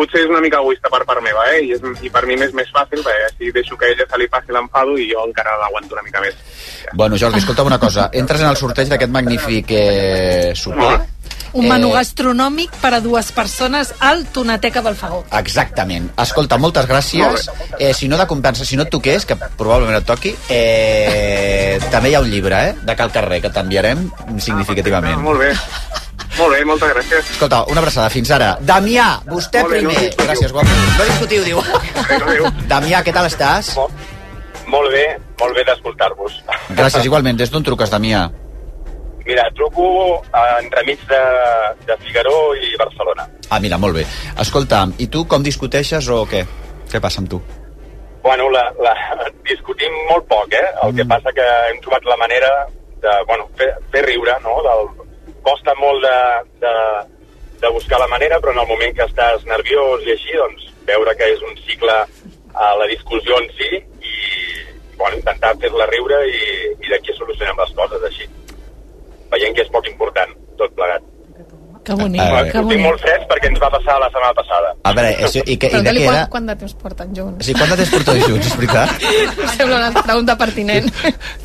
Speaker 3: Potser és una mica egoista per part meva, eh? I, és, i per mi m'és més fàcil, perquè així deixo que a ella se li passi l'enfado i jo encara l'aguanto una mica més.
Speaker 4: Bueno, Jordi, escolta'm una cosa. Entres en el sorteig d'aquest magnífic eh, sopar.
Speaker 7: Un
Speaker 4: Eh,
Speaker 7: menú gastronòmic per a dues persones al Tonateca Balfagó.
Speaker 4: Exactament. Escolta, moltes gràcies. Eh, si no de compensa, si no et toqués, que probablement et toqui, eh, també hi ha un llibre, eh, de Cal Carrer, que t'enviarem significativament.
Speaker 3: Molt bé. Molt bé, moltes gràcies.
Speaker 4: Escolta, una abraçada. Fins ara. Damià, vostè
Speaker 3: Molt bé, no
Speaker 4: primer.
Speaker 3: discutiu.
Speaker 4: gràcies, guapo. No discutiu, diu. Damià, què tal estàs?
Speaker 15: Molt bé, molt bé d'escoltar-vos.
Speaker 4: Gràcies, igualment. Des d'on truques, Damià?
Speaker 15: Mira, truco eh, entremig de, de Figaró i Barcelona.
Speaker 4: Ah, mira, molt bé. Escolta'm, i tu com discuteixes o què? Què passa amb tu?
Speaker 15: Bueno, la, la, discutim molt poc, eh? El que passa que hem trobat la manera de, bueno, fer, fer riure, no? Del, costa molt de, de, de buscar la manera, però en el moment que estàs nerviós i així, doncs, veure que és un cicle a la discussió en si i, bueno, intentar fer-la riure i, i d'aquí solucionem les coses així. Veient que és poc important, tot plegat.
Speaker 7: Que
Speaker 8: Ah,
Speaker 7: bonic,
Speaker 4: Eh, que
Speaker 15: Estic
Speaker 4: bonic.
Speaker 15: molt fresc perquè ens va passar la setmana passada.
Speaker 4: A veure, això, i, què,
Speaker 15: Però
Speaker 4: i de
Speaker 15: dale
Speaker 4: què
Speaker 15: igual.
Speaker 4: era?
Speaker 8: Quant de temps porten
Speaker 4: O
Speaker 8: junts? *laughs*
Speaker 4: sigui, quant de temps porteu junts, és veritat?
Speaker 8: Em Sembla una pregunta pertinent.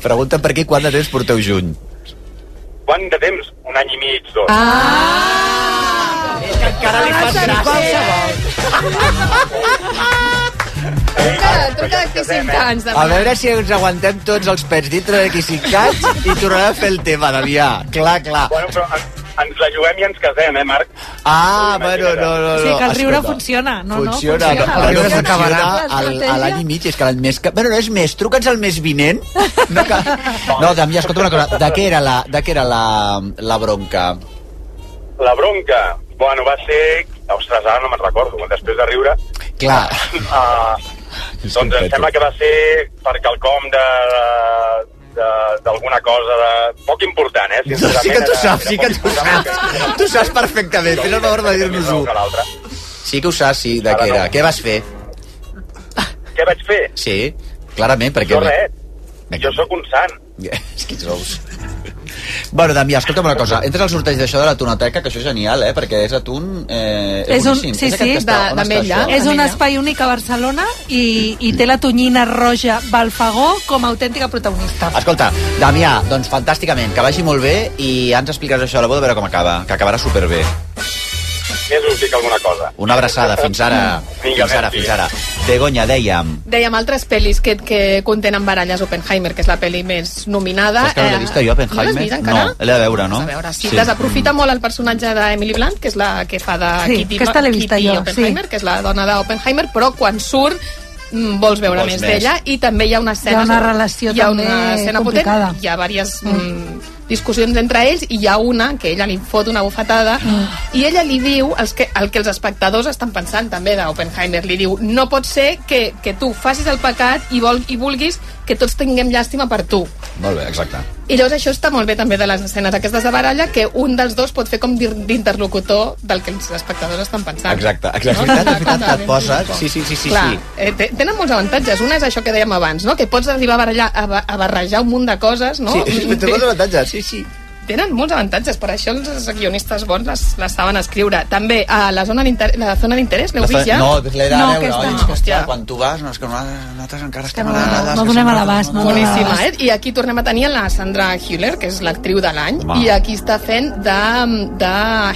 Speaker 4: Pregunta per aquí quant de temps porteu junts.
Speaker 15: Quant de temps? Un any i mig, dos.
Speaker 8: Ah.
Speaker 9: És que encara li fas gràcia.
Speaker 8: Truca, truca d'aquí 5 anys.
Speaker 4: A veure si ens aguantem tots els pets dintre d'aquí 5 anys i tornarem a fer el tema, Damià. Clar, clar.
Speaker 15: Bueno, però en, ens la juguem i ens casem, eh, Marc?
Speaker 4: Ah, bueno, no, no, no.
Speaker 7: o sigui que el riure
Speaker 4: escolta.
Speaker 7: funciona, no, no?
Speaker 4: Funciona, no,
Speaker 7: El riure
Speaker 4: funciona
Speaker 7: s'acabarà.
Speaker 4: al- a l'any i mig, és que l'any més... Que... Bueno, no és més, truca'ns al mes vinent. No, que... no Damià, escolta una cosa, de què era la, de què era la, la bronca?
Speaker 15: La bronca, bueno, va ser... Ostres, ara no me'n recordo, després de riure.
Speaker 4: Clar,
Speaker 15: Uh, doncs em sembla que va ser per quelcom de de- d'alguna cosa de... poc important, eh? Sincerament,
Speaker 4: sí que tu
Speaker 15: era-
Speaker 4: saps, sí
Speaker 15: era
Speaker 4: que
Speaker 15: poc
Speaker 4: tu saps. Tu saps perfectament, tens el favor de dir-nos-ho.
Speaker 15: important que l'altre.
Speaker 4: Sí que ho saps, sí, de què era. Què vas fer?
Speaker 15: què vaig fer?
Speaker 4: Sí, clarament, perquè...
Speaker 15: Jo res. Jo sóc un sant.
Speaker 4: *laughs* És que ets ous. Bueno, Damià, escolta'm una cosa. Entres al sorteig d'això de la tunoteca, que això és genial, eh? Perquè és atún... Eh,
Speaker 7: És un,
Speaker 4: boníssim.
Speaker 7: sí,
Speaker 4: és
Speaker 7: sí,
Speaker 4: aquest que està- on està això?
Speaker 7: és un espai únic a Barcelona i, i té la tonyina roja Balfagó com a autèntica protagonista.
Speaker 4: Escolta, Damià, doncs fantàsticament, que vagi molt bé i ja ens explicaràs això a la boda a veure com acaba, que acabarà superbé.
Speaker 15: Més us dic alguna cosa.
Speaker 4: Una abraçada, fins ara,
Speaker 15: *laughs* Vinga,
Speaker 4: fins ara,
Speaker 15: merci.
Speaker 4: fins ara. Begoña, dèiem...
Speaker 8: Dèiem altres pel·lis que, que contenen baralles. Oppenheimer, que és la pel·li més nominada.
Speaker 4: Saps que no l'he vista jo, Oppenheimer?
Speaker 8: Ah, eh, No l'has vist encara?
Speaker 4: No, l'he de veure, no?
Speaker 8: A veure, sí,
Speaker 4: Sí.
Speaker 8: sí. desaprofita molt el personatge d'Emily Blunt, que és la que fa de
Speaker 7: Sí,
Speaker 8: Kitty,
Speaker 7: aquesta l'he vista
Speaker 8: Kitty
Speaker 7: jo,
Speaker 8: Oppenheimer,
Speaker 7: sí.
Speaker 8: que és la dona d'Oppenheimer, però quan surt mm, vols veure
Speaker 7: Vols
Speaker 8: més,
Speaker 7: més.
Speaker 8: d'ella i també hi ha una escena...
Speaker 7: una relació
Speaker 8: hi ha
Speaker 7: també
Speaker 8: una escena
Speaker 7: complicada.
Speaker 8: potent, hi ha diverses mm. discussions entre ells i hi ha una que ella li fot una bufetada
Speaker 7: Mm.
Speaker 8: i ella li diu els que, el que els espectadors estan pensant també d'Oppenheimer. Li diu, no pot ser que, que tu facis el pecat i, vol, i vulguis que tots tinguem llàstima per tu.
Speaker 4: Molt bé, exacte.
Speaker 8: I llavors això està molt bé també de les escenes aquestes de baralla, que un dels dos pot fer com d'ir- d'interlocutor del que els espectadors estan pensant.
Speaker 4: Exacte, exacte. És veritat, és veritat que et poses... Sí, sí, sí, sí.
Speaker 8: Clar,
Speaker 4: sí.
Speaker 8: eh, te- tenen molts avantatges. Una és això que dèiem abans, no? que pots arribar a, barallar, a, ba- a barrejar un munt de coses. No?
Speaker 4: Sí, *laughs* té molts avantatges, sí, sí.
Speaker 8: Tenen molts avantatges, per això els guionistes bons les, les saben escriure. També a la zona d'inter- la zona d'interès, l'heu
Speaker 4: La
Speaker 8: vist
Speaker 4: fe-
Speaker 8: ja?
Speaker 4: No, l'he de veure, oi, és que està,
Speaker 8: hòstia.
Speaker 4: quan tu vas, no, és que nosaltres, nosaltres encara estem a la...
Speaker 7: No donem a l'abast, no?
Speaker 8: Boníssima, eh? I aquí tornem a tenir la Sandra Hüller, que és l'actriu de l'any,
Speaker 4: Home.
Speaker 8: i eh, aquí està fent de, de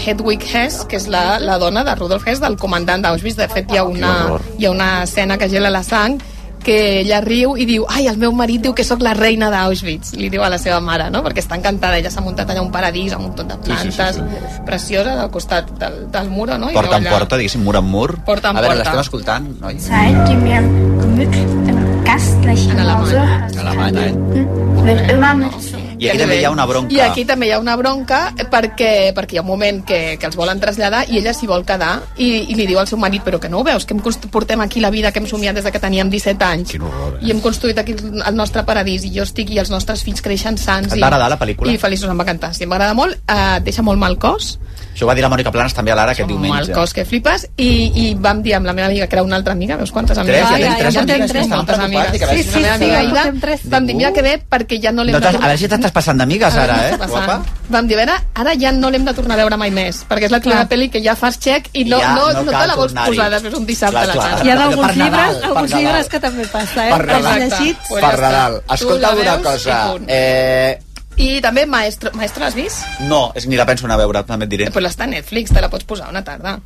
Speaker 8: Hedwig Hess, que és la, la dona de Rudolf Hess, del comandant d'Auschwitz. De fet, hi ha, una, hi ha una escena que gela la sang que ella riu i diu ai, el meu marit diu que sóc la reina d'Auschwitz li diu a la seva mare, no? perquè està encantada ella s'ha muntat allà un paradís amb un munt de plantes sí, sí, sí, sí. precioses al costat del, del muro no? I
Speaker 4: eh? Porta
Speaker 8: veu
Speaker 4: en
Speaker 8: allà-
Speaker 4: porta, diguéssim, mur en mur.
Speaker 8: Porta en
Speaker 4: a veure,
Speaker 8: porta.
Speaker 4: l'estem escoltant, noi?
Speaker 16: Zeit, die mir gemütlichen, gastlichen Hause
Speaker 4: Alemany, eh?
Speaker 8: Mm.
Speaker 16: wird immer mit
Speaker 4: I aquí també hi ha una bronca.
Speaker 8: I aquí també hi ha una bronca perquè, perquè hi ha un moment que, que els volen traslladar i ella s'hi vol quedar i, i li diu al seu marit però que no ho veus, que hem const- portem aquí la vida que hem somiat des de que teníem 17 anys horror, i hem construït aquí el el nostre paradís i jo estic i els nostres fills creixen sants
Speaker 4: Et
Speaker 8: i,
Speaker 4: va agradar la pel·lícula?
Speaker 8: i feliços, em va encantar sí, m'agrada molt, eh, et deixa molt mal cos
Speaker 4: Això ho va dir la Mònica Planes també a l'Ara aquest
Speaker 8: mal
Speaker 4: diumenge.
Speaker 8: cos que flipes i, i vam dir amb la meva amiga que era una altra amiga, veus quantes
Speaker 4: Tres,
Speaker 8: amigues?
Speaker 4: ja
Speaker 8: Ai,
Speaker 4: tenim
Speaker 8: ai,
Speaker 4: tres
Speaker 8: ja tenim
Speaker 4: amigues que estaven
Speaker 8: moltes
Speaker 4: preocupades
Speaker 8: amigues.
Speaker 4: i que a veure
Speaker 8: Sí,
Speaker 4: si
Speaker 8: sí,
Speaker 4: la
Speaker 8: la
Speaker 4: meva
Speaker 8: meva
Speaker 4: amiga
Speaker 8: amiga vam dir, mira que bé, perquè ja no l'hem
Speaker 4: No t'has-
Speaker 8: de
Speaker 4: a veure si t'estàs passant d'amigues ara, eh? Guapa.
Speaker 8: Guapa. Vam dir, a veure, ara ja no l'hem de tornar a veure mai més, perquè és la primera pel·li que ja fas xec i no,
Speaker 4: Ja,
Speaker 8: no,
Speaker 4: no
Speaker 8: no,
Speaker 4: cal
Speaker 8: te la vols
Speaker 4: tornar-hi.
Speaker 8: posar després un dissabte
Speaker 4: Clar,
Speaker 8: a la
Speaker 4: clar.
Speaker 8: tarde.
Speaker 7: Hi ha
Speaker 4: Per
Speaker 7: d'alguns
Speaker 4: Nadal,
Speaker 7: llibres,
Speaker 4: per
Speaker 7: alguns
Speaker 4: Nadal.
Speaker 7: llibres que també passa, eh?
Speaker 4: Per Nadal.
Speaker 7: llegits.
Speaker 4: Per Nadal.
Speaker 8: Tu
Speaker 4: Escolta
Speaker 8: la
Speaker 4: una
Speaker 8: veus
Speaker 4: cosa.
Speaker 8: i punt.
Speaker 4: Eh,
Speaker 8: I també Maestro, Maestro l'has vist?
Speaker 4: no, és que ni la penso anar a veure, també et diré.
Speaker 8: Eh, Pues l'està a Netflix, te la pots posar una tarda.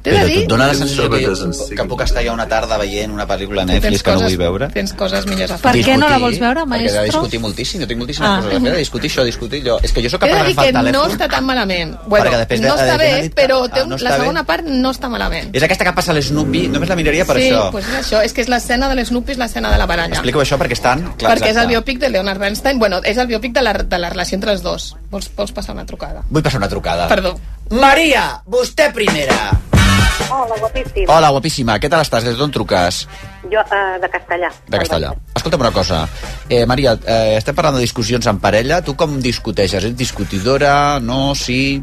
Speaker 8: T'he de
Speaker 4: Però
Speaker 8: dir...
Speaker 4: et dona la sensació que, jo, que puc estar ja una tarda veient una pel·lícula a Netflix que no vull veure?
Speaker 8: Tens coses millors a fer.
Speaker 7: Per què no la vols veure,
Speaker 4: Perquè he de
Speaker 7: maestro?
Speaker 4: discutir moltíssim, jo tinc moltíssimes
Speaker 8: Ah.
Speaker 4: coses a fer, de discutir això, discutir allò. És que jo sóc
Speaker 8: He de
Speaker 4: capaç
Speaker 8: dir
Speaker 4: d'agafar
Speaker 8: que
Speaker 4: el
Speaker 8: no
Speaker 4: telèfon.
Speaker 8: està tan malament. Bueno,
Speaker 4: Perquè després de-
Speaker 8: no està
Speaker 4: de-
Speaker 8: bé,
Speaker 4: de- de-
Speaker 8: però té
Speaker 4: Ah, no
Speaker 8: un,
Speaker 4: està
Speaker 8: la
Speaker 4: bé.
Speaker 8: segona part no està malament.
Speaker 4: És aquesta que passa a l'Snoopy, només la miraria per
Speaker 8: sí,
Speaker 4: això.
Speaker 8: pues és això. És que és l'escena de l'Snoopy, és l'escena de la baralla.
Speaker 4: Explico això perquè estan...
Speaker 8: Clar, perquè és el biòpic de Leonard Bernstein. Bueno, és el biòpic de la, de la relació entre els dos. Vols, vols passar una trucada?
Speaker 4: Vull passar una trucada.
Speaker 8: Perdó.
Speaker 4: Maria, vostè primera.
Speaker 17: Hola, guapíssim.
Speaker 4: Hola, guapíssima, què tal estàs? Des d'on truques?
Speaker 17: Jo, eh, de castellà.
Speaker 4: De castellà. Escolta'm una cosa. Eh, Maria, eh, estem parlant de discussions en parella. Tu com discuteixes? Ets discutidora? No? Sí?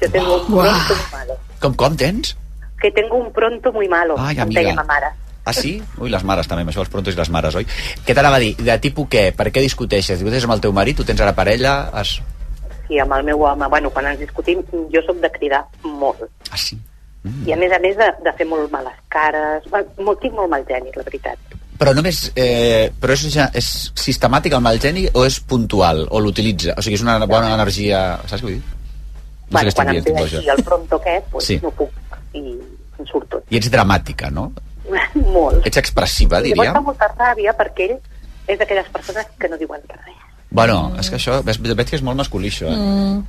Speaker 17: Yo tengo un pronto muy malo.
Speaker 4: Com, com tens?
Speaker 17: Que tengo un pronto muy malo.
Speaker 4: Ai,
Speaker 17: em
Speaker 4: amiga.
Speaker 17: deia ma mare.
Speaker 4: Ah, sí? Ui, les mares també, amb això els prontos i les mares, oi? Què t'anava a dir? De tipus què? Per què discuteixes? Discuteixes amb el teu marit? Tu tens ara parella? Has...
Speaker 17: Sí, amb el meu home. Bueno, quan ens discutim, jo sóc de cridar molt.
Speaker 4: Ah, sí?
Speaker 17: I a
Speaker 4: Ah.
Speaker 17: més a més de, de fer molt males cares. Bueno, molt, tinc molt mal geni, la veritat.
Speaker 4: Però només... Eh, però és, ja, és sistemàtic el mal geni o és puntual? O l'utilitza? O sigui, és una bona energia... Saps què vull dir? No sé què
Speaker 17: bueno,
Speaker 4: estic
Speaker 17: quan
Speaker 4: dient,
Speaker 17: em ve
Speaker 4: estic
Speaker 17: així
Speaker 4: boja.
Speaker 17: el pronto aquest, pues,
Speaker 4: Sí.
Speaker 17: no puc. I em surt tot.
Speaker 4: I ets dramàtica, no?
Speaker 17: molt.
Speaker 4: Ets expressiva,
Speaker 17: I llavors
Speaker 4: diríem.
Speaker 17: fa molta ràbia perquè ell és d'aquelles persones que no ¿eh? diuen res.
Speaker 4: Bueno, és que això... Ves, veig que és molt masculí, això, eh?
Speaker 17: Mm.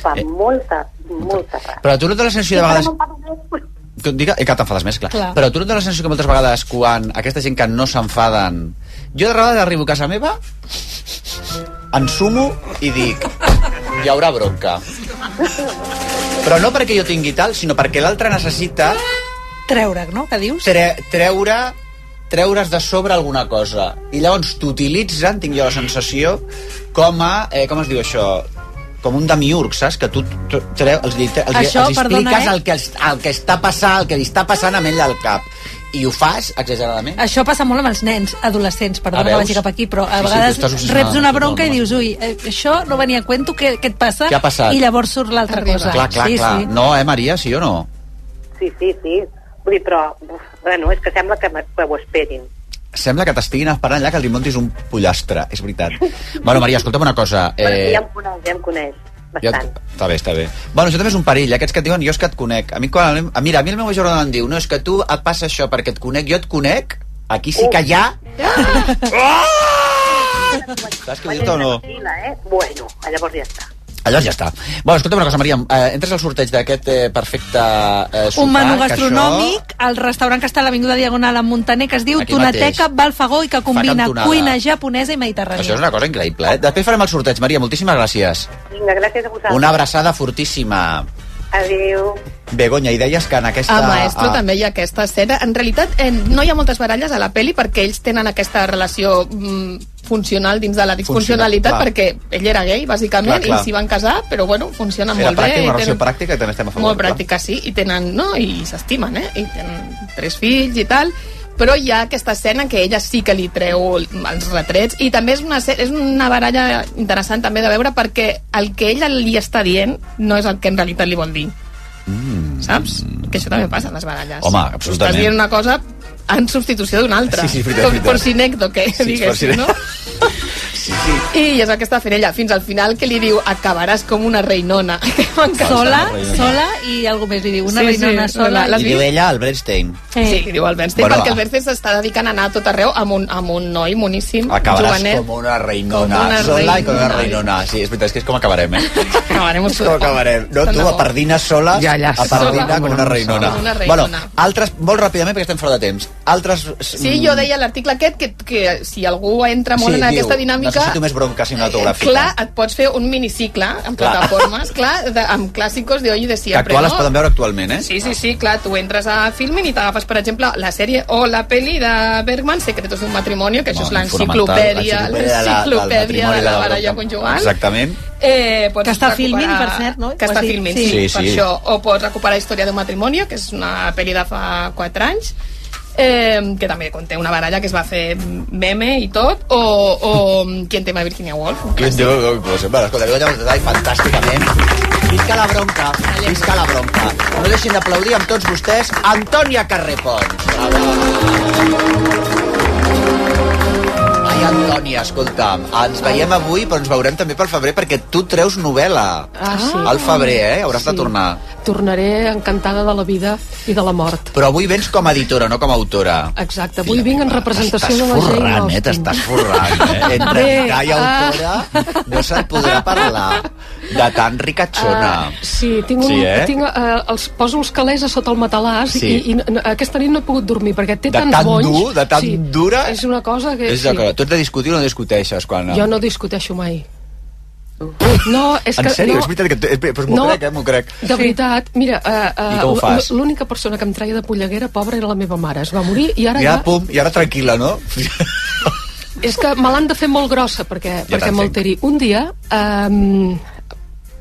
Speaker 17: Fa molta, molta ràbia.
Speaker 4: Però tu no et dones la sensació de
Speaker 17: I
Speaker 4: vegades...
Speaker 17: ara no em parlo més.
Speaker 4: Que, diga, eh, que t'enfades més, clar. clar.
Speaker 17: Clar.
Speaker 4: Però tu no et dones la sensació que moltes vegades quan aquesta gent que no s'enfaden... Jo de vegades arribo a casa meva, ensumo i dic... Hi haurà bronca. Però no perquè jo tingui tal, sinó perquè l'altre necessita
Speaker 7: Treure, no? Que dius?
Speaker 4: tre treure treure's de sobre alguna cosa. I llavors t'utilitzen, tinc jo la sensació, com a... Eh, com es diu això? com un demiurg, saps? Que tu t- treu, els, li- els, li-
Speaker 7: Això,
Speaker 4: els expliques
Speaker 7: perdona, eh?
Speaker 4: el, que, els- el que està passant, el que li està passant a ell al cap. i ho fas exageradament.
Speaker 7: Això passa molt amb els nens adolescents,
Speaker 4: Ah,
Speaker 7: perdona que
Speaker 4: veus?
Speaker 7: vagi cap aquí, però a
Speaker 4: Sí, sí, tu estàs
Speaker 7: vegades
Speaker 4: obsessionada,
Speaker 7: reps una bronca
Speaker 4: no,
Speaker 7: i dius, ui, eh, això no venia a cuento, què, què et passa?
Speaker 4: Què ha passat?
Speaker 7: I llavors surt l'altra cosa.
Speaker 4: Clar, clar,
Speaker 7: sí,
Speaker 4: clar.
Speaker 7: Sí.
Speaker 4: No, eh, Maria, sí o no?
Speaker 17: Sí, sí, sí. Vull dir, però, uf, bueno, és que sembla que, me- que ho esperin.
Speaker 4: Sembla que t'estiguin esperant allà que li montis un pollastre, és veritat. bueno, Maria, escolta'm una cosa.
Speaker 17: Eh... Bueno, ja em coneix, ja em coneix.
Speaker 4: Ja,
Speaker 17: Bastant.
Speaker 4: està bé, està bé. Bueno, això també és un perill, eh, aquests que et diuen jo és que et conec. A mi, quan, anem- a, mira, a mi el meu Jordan em diu no, és que tu et passa això perquè et conec, jo et conec, aquí sí que hi ha...
Speaker 17: *laughs*
Speaker 4: Saps què vull dir o no?
Speaker 17: Tranquil·la, eh? Bueno, llavors ja està.
Speaker 4: Allò ja està. Bueno, escolta'm una cosa, Maria, eh, entres al sorteig d'aquest eh, perfecte eh, sopar...
Speaker 7: un menú
Speaker 4: que Això...
Speaker 7: gastronòmic al restaurant que està a l'Avinguda Diagonal a Montaner que es diu
Speaker 4: Aquí
Speaker 7: Tonateca
Speaker 4: mateix.
Speaker 7: Balfagó i que combina
Speaker 4: cantonada.
Speaker 7: cuina japonesa i mediterrània.
Speaker 4: Això és una cosa increïble, eh? Després farem el sorteig, Maria, moltíssimes gràcies.
Speaker 17: Vinga, gràcies a vosaltres.
Speaker 4: Una abraçada fortíssima.
Speaker 17: Adéu.
Speaker 4: Begoña, i deies que en aquesta... Ah.
Speaker 8: A Ah, Maestro també hi ha aquesta escena. En realitat, eh, no hi ha moltes baralles a la peli perquè ells tenen aquesta relació mm, funcional dins de la disfuncionalitat
Speaker 4: Funcional,
Speaker 8: perquè ell era gay, bàsicament,
Speaker 4: Clar, clar.
Speaker 8: i s'hi van casar, però bueno, funciona
Speaker 4: Ah, Era
Speaker 8: molt bé.
Speaker 4: pràctica,
Speaker 8: i
Speaker 4: una relació
Speaker 8: tenen-
Speaker 4: pràctica, i també estem a favor.
Speaker 8: molt pràctica, sí, i tenen, no?, i s'estimen, eh?, i tenen tres fills i tal, però hi ha aquesta escena que ella sí que li treu els retrets i també és una, esce- és una baralla interessant també de veure perquè el que ella li està dient no és el que en realitat li vol dir. Mm. Saps? Que això també passa en les baralles.
Speaker 4: Home,
Speaker 8: Estàs
Speaker 4: absolutament.
Speaker 8: dient una cosa en substitució d'una altra.
Speaker 4: Sí, sí, és veritat,
Speaker 8: Com
Speaker 4: és veritat.
Speaker 8: por si necto, que
Speaker 4: Sí,
Speaker 8: diguéssim,
Speaker 4: por si ne-
Speaker 8: no? *laughs* I és el que està fent ella fins al final que li diu acabaràs com una reinona. *laughs* Que m'encanta.
Speaker 7: Sola, sola i algú més li diu, una sí, reinona sola.
Speaker 4: I diu ella al Bernstein.
Speaker 8: Sí, sí diu el Bernstein,
Speaker 4: Bueno,
Speaker 8: bueno, perquè
Speaker 4: va.
Speaker 8: el Bernstein s'està dedicant a anar a tot arreu amb un, amb un noi moníssim,
Speaker 4: Acabaràs
Speaker 8: jovenet.
Speaker 4: com una reinona.
Speaker 8: Com una
Speaker 4: sola i com una
Speaker 8: reinona.
Speaker 4: reinona. Sí, és veritat, és que és com acabarem, eh?
Speaker 8: Acabarem
Speaker 4: És com acabarem. No, tu, a pardina sola,
Speaker 14: Ja, ja,
Speaker 4: a pardina
Speaker 14: sola.
Speaker 4: com una reinona.
Speaker 8: Com una
Speaker 4: Bueno,
Speaker 8: reinona.
Speaker 4: altres, molt ràpidament, perquè estem fora de temps. Altres...
Speaker 8: Sí, jo deia a l'article aquest que, que si algú entra molt
Speaker 4: Sí,
Speaker 8: en
Speaker 4: diu,
Speaker 8: aquesta dinàmica... Eh,
Speaker 4: Necessito més bronca cinematogràfica.
Speaker 8: Clar, et pots fer un minicicle amb
Speaker 4: Clar.
Speaker 8: plataformes, clar, de, amb clàssicos de hoy i de
Speaker 4: que
Speaker 8: siempre,
Speaker 4: actual
Speaker 8: no?
Speaker 4: es poden veure actualment, eh?
Speaker 8: Sí, sí, sí, clar, tu entres a Filmin i t'agafes, per exemple, la sèrie o la peli de Bergman, Secretos d'un matrimonio, que això és
Speaker 4: Bueno,
Speaker 8: l'enciclopèdia,
Speaker 4: fonamental,
Speaker 8: l'enciclopèdia de la
Speaker 4: matrimoni,
Speaker 8: baralla conjugal.
Speaker 4: Exactament.
Speaker 8: Eh, pots
Speaker 7: Que està a
Speaker 8: recuperar-
Speaker 7: Filmin, per cert, no?
Speaker 8: Que
Speaker 7: Ho
Speaker 8: està
Speaker 7: has
Speaker 8: a
Speaker 7: dit.
Speaker 8: Filmin,
Speaker 7: Sí.
Speaker 8: sí, sí,
Speaker 4: Sí,
Speaker 8: per
Speaker 4: sí.
Speaker 8: això. O pots recuperar Història d'un matrimonio, que és una pel·li de fa 4 anys, eh, que també conté una baralla que es va fer meme i tot, o, o mm, Quien tema Virginia Woolf. un
Speaker 4: Clint Eastwood, doncs, doncs, Bueno, escolta, Begoña ho detall fantàsticament. Visca la bronca, visca la bronca. No deixin d'aplaudir amb tots vostès Antònia Carrepons. Bravo. Ai, Antònia, escolta'm, ens veiem avui, però ens veurem també pel febrer, perquè tu treus novel·la.
Speaker 13: Ah, sí.
Speaker 4: Al febrer, eh? Hauràs de
Speaker 13: Sí.
Speaker 4: tornar.
Speaker 13: Tornaré encantada de la vida i de la mort.
Speaker 4: Però avui vens com a editora, no com a autora.
Speaker 13: Exacte, avui vinc en representació de la
Speaker 4: T'estàs
Speaker 13: Jane
Speaker 4: forrant, eh?
Speaker 13: Austen.
Speaker 4: T'estàs forrant, eh?
Speaker 13: *laughs*
Speaker 4: Entre
Speaker 13: Bé, ah,
Speaker 4: editar i autora no se'n podrà parlar de tan ricachona.
Speaker 13: Ah, sí, tinc, un,
Speaker 4: Sí, eh?
Speaker 13: tinc eh, els, poso els calés a sota el matalàs
Speaker 4: Sí.
Speaker 13: sí. i, i n- aquesta nit no he pogut dormir perquè té
Speaker 4: De
Speaker 13: tants
Speaker 4: tan
Speaker 13: bonys.
Speaker 4: dur, de tan
Speaker 13: sí,
Speaker 4: dura.
Speaker 13: És una cosa que...
Speaker 4: És allò que tu has de discutir o no discuteixes quan...
Speaker 13: Jo no discuteixo mai. No, és
Speaker 4: en
Speaker 13: que...
Speaker 4: sèrio,
Speaker 13: no,
Speaker 4: és veritat que... tu- és- Però m'ho
Speaker 13: No.
Speaker 4: crec, eh? M'ho crec.
Speaker 13: De veritat, mira,
Speaker 4: I
Speaker 13: uh,
Speaker 4: com ho
Speaker 13: uh,
Speaker 4: fas?
Speaker 13: l'única persona que em traia de polleguera, pobra, era la meva mare. Es va morir i ara
Speaker 4: I
Speaker 13: ja...
Speaker 4: ara, pum, i ara tranquil·la, no?
Speaker 13: És que me l'han de fer molt grossa perquè, ja perquè
Speaker 4: t'entenc.
Speaker 13: m'alteri. Un dia um,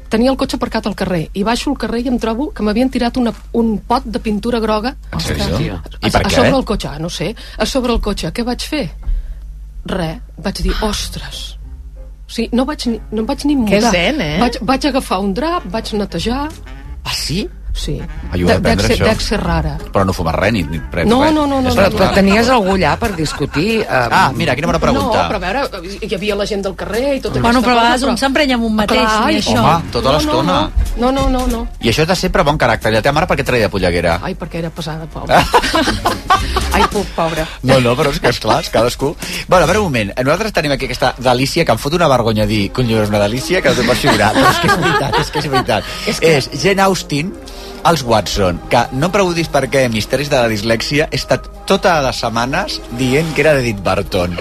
Speaker 13: tenia el cotxe aparcat al carrer i baixo al carrer i em trobo que m'havien tirat una, un pot de pintura groga
Speaker 4: En sèrio? I
Speaker 13: a,
Speaker 4: per
Speaker 13: a
Speaker 4: què?
Speaker 13: sobre el cotxe, ah, no sé, a sobre el cotxe. Què vaig fer? Re, vaig dir, ostres. O sigui, no, vaig ni, no em vaig ni
Speaker 8: Que
Speaker 13: mudar.
Speaker 8: zen, eh?
Speaker 13: Vaig, vaig agafar un drap, vaig netejar...
Speaker 4: Ah, sí?
Speaker 13: Sí.
Speaker 4: Ai, ho he
Speaker 13: De- dec
Speaker 4: d'aprendre,
Speaker 13: ser-
Speaker 4: això.
Speaker 13: Dec ser rara.
Speaker 4: Però no fumes res, ni, ni res.
Speaker 13: No,
Speaker 4: res.
Speaker 13: no, no, no,
Speaker 4: És
Speaker 13: no,
Speaker 4: natural.
Speaker 13: no.
Speaker 14: Però tenies algú allà per discutir... Eh,
Speaker 4: Ah, mira, quina bona pregunta.
Speaker 13: No, però a veure, hi havia la gent del carrer i tot
Speaker 7: Bueno,
Speaker 13: aquesta
Speaker 7: però a
Speaker 13: cosa,
Speaker 7: vegades un s'emprenya amb un mateix,
Speaker 13: Clar,
Speaker 7: ni
Speaker 13: i-
Speaker 7: això.
Speaker 4: Home, tota
Speaker 13: No,
Speaker 4: l'estona.
Speaker 13: No, no, no, no.
Speaker 4: I això és de sempre bon caràcter. I la teva mare per què et traia de polleguera?
Speaker 13: Ai, perquè era pesada, pobra. *laughs* Ai, puc, pobra.
Speaker 4: No, no, però és que, esclar, és cadascú... Bueno, a veure un moment, nosaltres tenim aquí aquesta delícia que em fot una vergonya dir cony, és una delícia que no te pots figurar, però és que és veritat, és que és veritat. És, que... és Jane Austen, els Watson, que no em preguntis per què Misteris de la Dislèxia he estat totes les setmanes dient que era d'Edith Barton.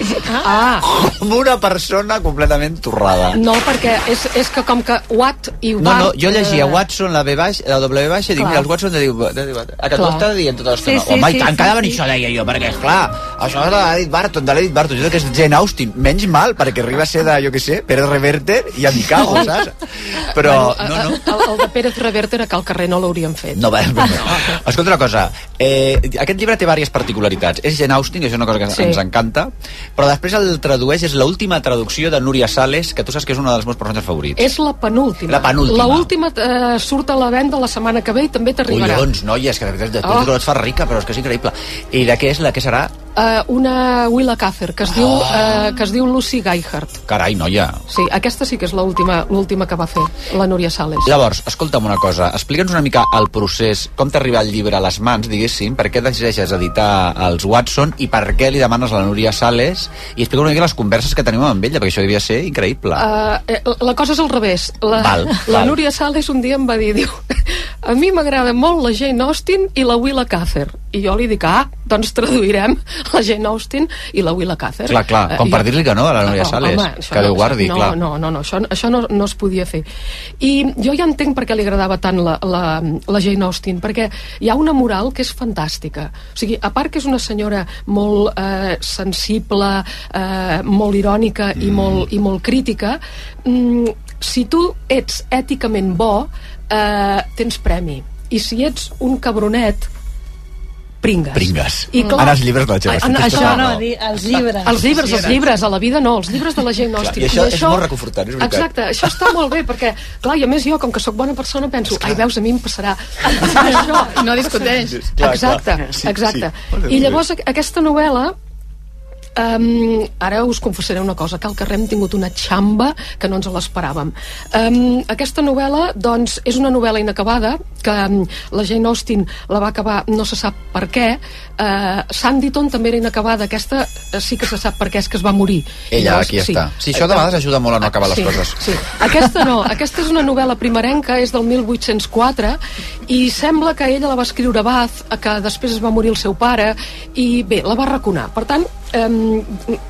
Speaker 13: Ah,
Speaker 4: Amb una persona completament torrada.
Speaker 13: no, perquè és, és que com que what i what...
Speaker 4: No, no, jo llegia
Speaker 13: eh,
Speaker 4: Watson, la B baixa, la W baixa, i dic,
Speaker 13: Clar.
Speaker 4: mira, els Watson de diu... De diu a que tu
Speaker 13: Clar.
Speaker 4: estàs dient tota l'estona.
Speaker 13: Sí, sí,
Speaker 4: Home,
Speaker 13: sí,
Speaker 4: i tant,
Speaker 13: sí,
Speaker 4: que ha de venir
Speaker 13: sí.
Speaker 4: això, deia jo, perquè, esclar, això és de l'Edith Barton, de l'Edith Barton, jo crec que és Jane Austen, menys mal, perquè arriba a ser de, jo què sé, Pérez Reverter, i a mi cago, saps? Però, no, no.
Speaker 13: eh, El, el de Pérez Reverte era que al carrer no l'haurien fet.
Speaker 4: No, va, no. Escolta una cosa, eh, aquest llibre té diverses particularitats. particularitats. És Jane Austen, que és una cosa que
Speaker 12: Sí.
Speaker 4: sí. ens encanta, però després el tradueix, és l'última traducció de Núria Sales, que tu saps que és una dels meus personatges favorits.
Speaker 13: És la penúltima.
Speaker 4: La penúltima.
Speaker 13: L'última eh, surt a la venda la setmana que ve i també t'arribarà.
Speaker 4: Collons, noies, que de veritat,
Speaker 13: Oh.
Speaker 4: oh. tu et fas rica, però és que és increïble. I de què és la que serà?
Speaker 13: Eh, una Willa Cather, que es, diu,
Speaker 4: Ah.
Speaker 13: eh, que es diu Lucy Geihart.
Speaker 4: Carai, noia.
Speaker 13: Sí, aquesta sí que és l'última l'última que va fer, la Núria Sales.
Speaker 4: Llavors, escolta'm una cosa, explica'ns una mica el procés, com t'arriba el llibre a les mans, diguéssim, per què decideixes editar els Watson i per què li demanes a la Núria Sales i explica'm una mica les converses que tenim amb ella, perquè això devia ser increïble.
Speaker 13: Eh, eh, la cosa és al revés. La,
Speaker 4: Val,
Speaker 13: la
Speaker 4: val.
Speaker 13: Núria Sales un dia em va dir, diu, a mi m'agrada molt la Jane Austen i la Willa Cather. I jo li dic, ah, doncs traduirem la Jane Austen i la Willa Cather.
Speaker 4: Clar, clar,
Speaker 13: Eh,
Speaker 4: com
Speaker 13: i
Speaker 4: per
Speaker 13: jo-
Speaker 4: dir-li que no a la Núria
Speaker 13: No,
Speaker 4: Sales,
Speaker 13: home, això
Speaker 4: que Déu
Speaker 13: no,
Speaker 4: guardi,
Speaker 13: no,
Speaker 4: clar.
Speaker 13: No, no, no, això, això no, no es podia fer. I jo ja entenc per què li agradava tant la, la, la Jane Austen, perquè hi ha una moral que és fantàstica. O sigui, a part que és una senyora molt eh, sensible, eh, molt irònica mm. i, molt, i molt crítica, mm, si tu ets èticament bo, eh, tens premi. I si ets un cabronet, pringues.
Speaker 4: Pringues.
Speaker 13: I clar,
Speaker 4: Ara els llibres no, Gemma,
Speaker 13: en-
Speaker 4: estic
Speaker 13: això,
Speaker 4: pensant,
Speaker 13: no,
Speaker 4: no.
Speaker 13: di-
Speaker 7: els llibres.
Speaker 13: Els llibres, els llibres, a la vida no, els llibres de la gent nostra.
Speaker 4: I això és molt reconfortant, és veritat.
Speaker 13: Exacte, això està molt bé, perquè, clar, i a més jo, com que sóc bona persona, penso, ai, veus, a mi em
Speaker 4: *laughs*
Speaker 13: passarà, em passarà això.
Speaker 8: No discuteix.
Speaker 13: Clar, exacte, clar. Sí, exacte. Sí. I llavors aqu- aquesta novel·la Um, ara us confessaré una cosa, que al carrer hem tingut una xamba que no ens l'esperàvem. Um, aquesta novel·la, doncs, és una novel·la inacabada, que um, la Jane Austen la va acabar no se sap per què. Uh, Sanditon també era inacabada, aquesta eh, sí que se sap per què, és que es va morir. I
Speaker 4: Ella, aquí està. Sí, això de vegades ajuda molt a no acabar les
Speaker 13: sí,
Speaker 4: coses.
Speaker 13: Sí. Aquesta no, aquesta és una novel·la primerenca, és del 1804, i sembla que ella la va escriure Bath, que després es va morir el seu pare, i bé, la va raconar. Per tant, eh,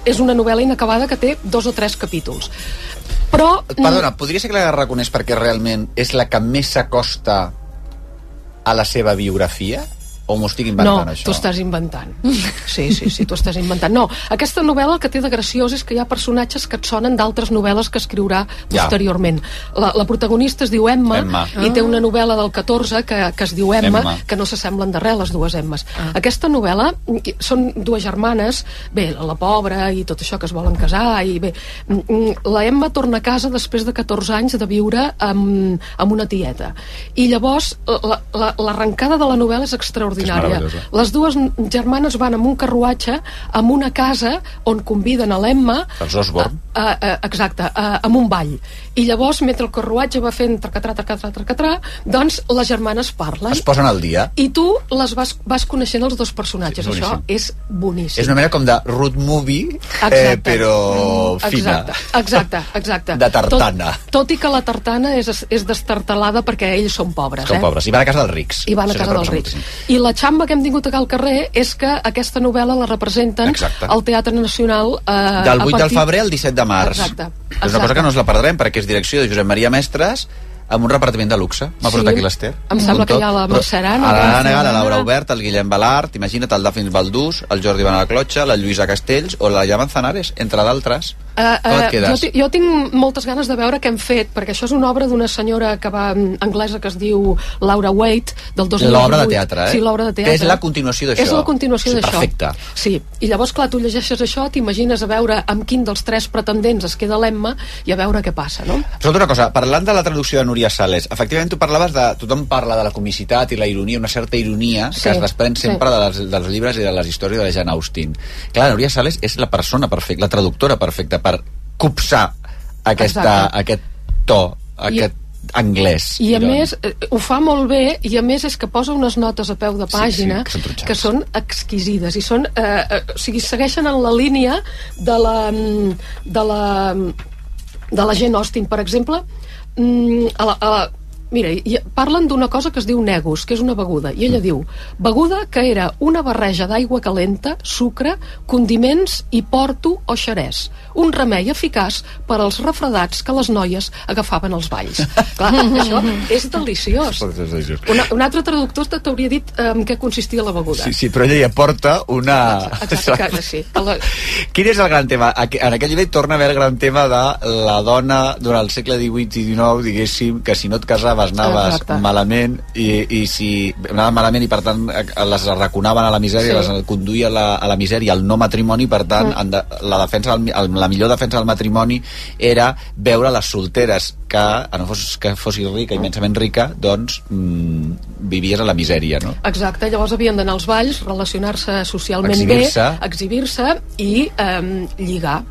Speaker 13: és una novel·la inacabada que té dos o tres capítols. Però...
Speaker 4: Eh, Perdona, podria ser que la reconeix perquè realment és la que més s'acosta a la seva biografia? O m'ho estic inventant,
Speaker 13: no,
Speaker 4: això?
Speaker 13: t'ho estàs inventant. Sí, sí, sí, t'ho estàs inventant. No, aquesta novel·la el que té de graciós és que hi ha personatges que et sonen d'altres novel·les que escriurà
Speaker 4: Ja.
Speaker 13: posteriorment. La, la protagonista es diu Emma,
Speaker 4: Emma.
Speaker 13: i té una novel·la del 14 que, que es diu Emma,
Speaker 4: Emma.
Speaker 13: que no s'assemblen de res les dues Emmes. Aquesta novel·la mm, són dues germanes, bé, la pobra i tot això que es volen casar, i bé, mm, mm, la Emma torna a casa després de 14 anys de viure amb, amb una tieta. I llavors la- la- l'arrencada de la novel·la és extraordinària.
Speaker 18: meravellosa.
Speaker 13: Les dues n- germanes van amb un carruatge amb una casa on conviden a l'Emma
Speaker 4: Els
Speaker 14: Ah,
Speaker 4: Osborn.
Speaker 13: Uh, uh, exacte, uh, amb un ball. I llavors, mentre el carruatge va fent tracatrà, tracatrà, tracatrà, doncs les germanes parlen.
Speaker 4: Es posen al dia.
Speaker 13: I tu les vas, vas coneixent els dos personatges.
Speaker 4: Sí, és
Speaker 13: Això
Speaker 4: boníssim.
Speaker 13: és boníssim.
Speaker 4: És una manera com de road movie, eh,
Speaker 13: Exacte. Mm,
Speaker 4: però fina.
Speaker 13: Exacte, exacte, exacte.
Speaker 4: *laughs* De tartana.
Speaker 13: Tot, tot i que la tartana és, és destartalada perquè ells són pobres.
Speaker 4: Són
Speaker 13: eh?
Speaker 4: pobres. I van a casa dels rics.
Speaker 13: I van a
Speaker 4: Això
Speaker 13: casa
Speaker 4: és
Speaker 13: dels
Speaker 4: una
Speaker 13: rics.
Speaker 4: cosa
Speaker 13: I la xamba que hem tingut acá al carrer és que aquesta novel·la la representen
Speaker 4: Exacte.
Speaker 13: al Teatre Nacional... Eh,
Speaker 4: Del 8
Speaker 13: a
Speaker 4: del
Speaker 13: partir-
Speaker 4: febrer al 17 de març.
Speaker 13: Exacte.
Speaker 4: És una cosa que no ens la perdrem, perquè és direcció de Josep Maria Mestres, amb un repartiment de luxe. M'ha
Speaker 13: Sí.
Speaker 4: portat aquí l'Ester.
Speaker 13: Em sembla
Speaker 4: Amb
Speaker 13: que
Speaker 4: tot.
Speaker 13: hi ha la
Speaker 4: Però-
Speaker 13: Mercè Arana,
Speaker 4: A la
Speaker 13: la
Speaker 4: Arana, la
Speaker 13: Mercè
Speaker 4: Laura
Speaker 13: Arana.
Speaker 4: Obert, el Guillem Balart, imagina't el Dafins Baldús, el Jordi Van a la Clotxa, la Lluïsa Castells o la Llaman Zanares, entre d'altres.
Speaker 13: Eh, eh,
Speaker 4: Com et quedes?
Speaker 13: jo, ti- jo tinc moltes ganes de veure què hem fet, perquè això és una obra d'una senyora que va mm, anglesa que es diu Laura Waite, del 2008.
Speaker 4: L'obra de teatre, eh?
Speaker 13: Sí, l'obra de
Speaker 4: Que
Speaker 13: teatre.
Speaker 4: és la continuació d'això.
Speaker 13: És la continuació
Speaker 4: Sí,
Speaker 13: d'això.
Speaker 4: perfecte.
Speaker 13: Sí, i llavors, clar, tu llegeixes això, t'imagines a veure amb quin dels tres pretendents es queda l'Emma i a veure què passa, no?
Speaker 4: Escolta una cosa, parlant de la traducció de Núria Sales, efectivament tu parlaves de... Tothom parla de la comicitat i la ironia, una certa ironia
Speaker 13: Sí,
Speaker 4: que es desprèn
Speaker 13: sí.
Speaker 4: sempre de les, dels llibres i de les històries de la Jane Austen. Clar, Núria Sales és la persona perfecta, la traductora perfecta per copsar aquesta,
Speaker 13: Exacte.
Speaker 4: aquest to, aquest anglès.
Speaker 13: I a
Speaker 4: irònic.
Speaker 13: més, eh, ho fa molt bé, i a més és que posa unes notes a peu de pàgina
Speaker 4: sí, que són totxanes.
Speaker 13: que són exquisides, i són, eh, eh, o sigui, segueixen en la línia de la, mm, de la, mm, de la gent Austin, per exemple, mm, a la, a la, Mira, hi, parlen d'una cosa que es diu negus, que és una beguda, i
Speaker 4: Mm.
Speaker 13: ella diu, beguda que era una barreja d'aigua calenta, sucre, condiments i porto o xerès. Un remei eficaç per als refredats que les noies agafaven als balls.
Speaker 4: *laughs*
Speaker 13: Clar, això és deliciós. Una, un altre traductor te- t'hauria dit eh, en què consistia la beguda.
Speaker 4: Sí, sí, però ella hi aporta una...
Speaker 13: Exacte, que sí. Que la,
Speaker 4: Quin és el gran tema? Aqu- En aquell nivell torna a haver el gran tema de la dona durant el segle XVIII i XIX, diguéssim, que si no et casava xerrades anaves
Speaker 18: Exacte.
Speaker 4: malament i, i si anaven malament i per tant eh, les arraconaven a la misèria,
Speaker 18: Sí.
Speaker 4: sí. les conduïa a la, a la misèria, al no matrimoni, per tant
Speaker 18: Mm.
Speaker 4: mm. de, la, defensa del, mi- el, la millor defensa del matrimoni era veure les solteres que, a no fos que fossis rica,
Speaker 18: Ah.
Speaker 4: immensament rica, doncs mm, vivies a la misèria, no?
Speaker 13: Exacte, llavors havien d'anar als balls, relacionar-se socialment
Speaker 4: Exhibir-se.
Speaker 13: bé, exhibir-se i eh, lligar.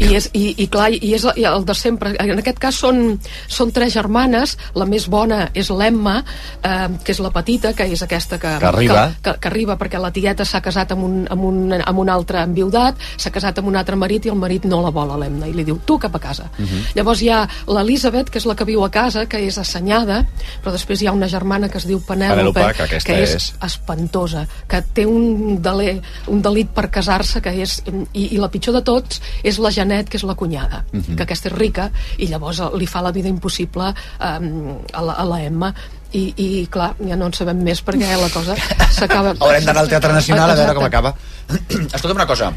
Speaker 13: I, és, i, i clar, i és el, el de sempre en aquest cas són, són tres germanes la més bona és l'Emma eh, que és la petita, que és aquesta que,
Speaker 4: Que arriba.
Speaker 13: que, que arriba perquè la tieta s'ha casat amb un, amb, un, amb un altre enviudat s'ha casat amb un altre marit i el marit no la vol a l'Emma i li diu tu cap a casa
Speaker 4: Mhm. Mm.
Speaker 13: Llavors hi ha l'Elisabet, que és la que viu a casa, que és assenyada, però després hi ha una germana que es diu Penèlope,
Speaker 4: Penèlope, que aquesta
Speaker 13: que és,
Speaker 4: és.
Speaker 13: espantosa, que té un, delé, un delit per casar-se, que és... I, I la pitjor de tots és la Janet, que és la cunyada,
Speaker 4: Mhm.
Speaker 13: que aquesta és rica, i llavors eh, li fa la vida impossible eh, a, la, a la Emma, i, i clar, ja no en sabem més perquè eh, la cosa s'acaba...
Speaker 4: *laughs* Haurem d'anar al Teatre Nacional a veure com
Speaker 13: Exacte.
Speaker 4: acaba. *clears throat* Escolta'm una cosa.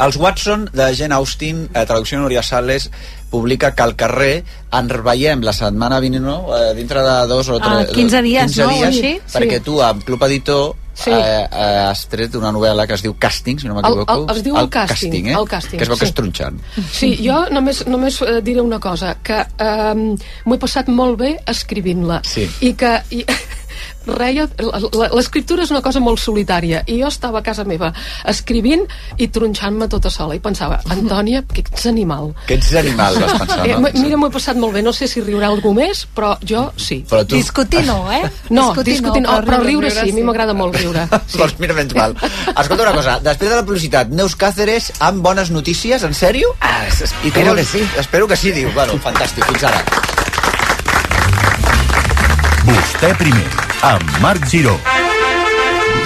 Speaker 4: Els Watson, de Jane Austen, eh, traducció de Núria Sales, publica que al carrer ens veiem la setmana vinent, no? Eh, dintre de dos o
Speaker 7: Ah,
Speaker 4: tres...
Speaker 7: 15 dies,
Speaker 4: 15
Speaker 7: no? O
Speaker 4: dies,
Speaker 7: així?
Speaker 4: Perquè
Speaker 7: Sí.
Speaker 4: tu, amb Club Editor,
Speaker 13: Sí.
Speaker 4: sí. eh, eh, has tret una novel·la que es diu Càsting, si no m'equivoco.
Speaker 13: El- el- es diu El Càsting,
Speaker 4: eh?
Speaker 13: El Càsting,
Speaker 4: que es veu
Speaker 13: sí.
Speaker 4: que és tronxant.
Speaker 13: Sí, jo només, només eh, diré una cosa, que eh, m'ho he passat molt bé escrivint-la.
Speaker 4: Sí.
Speaker 13: I que... I, *laughs* reia, la- la- l'escriptura és una cosa molt solitària i jo estava a casa meva escrivint i tronxant-me tota sola i pensava, Antònia, que ets animal
Speaker 4: Que ets animal, vas
Speaker 13: *laughs*
Speaker 4: pensar,
Speaker 13: eh,
Speaker 4: no?
Speaker 13: m- mira, m'ho he passat molt bé, no sé si riurà algú més però jo sí
Speaker 4: Però tu- Discutir
Speaker 7: no, eh?
Speaker 13: *laughs* no,
Speaker 7: Discutir
Speaker 13: discutir, no, però riure sí, a mi m'agrada molt
Speaker 4: *laughs*
Speaker 13: riure
Speaker 4: Sí. Doncs mira, menys mal. Escolta una cosa, després de la publicitat, Neus Cáceres amb bones notícies, en sèrio? Ah, espero que sí. Espero que sí, diu. Bueno, fantàstic, fins ara.
Speaker 1: Vostè primer, amb Marc Giró.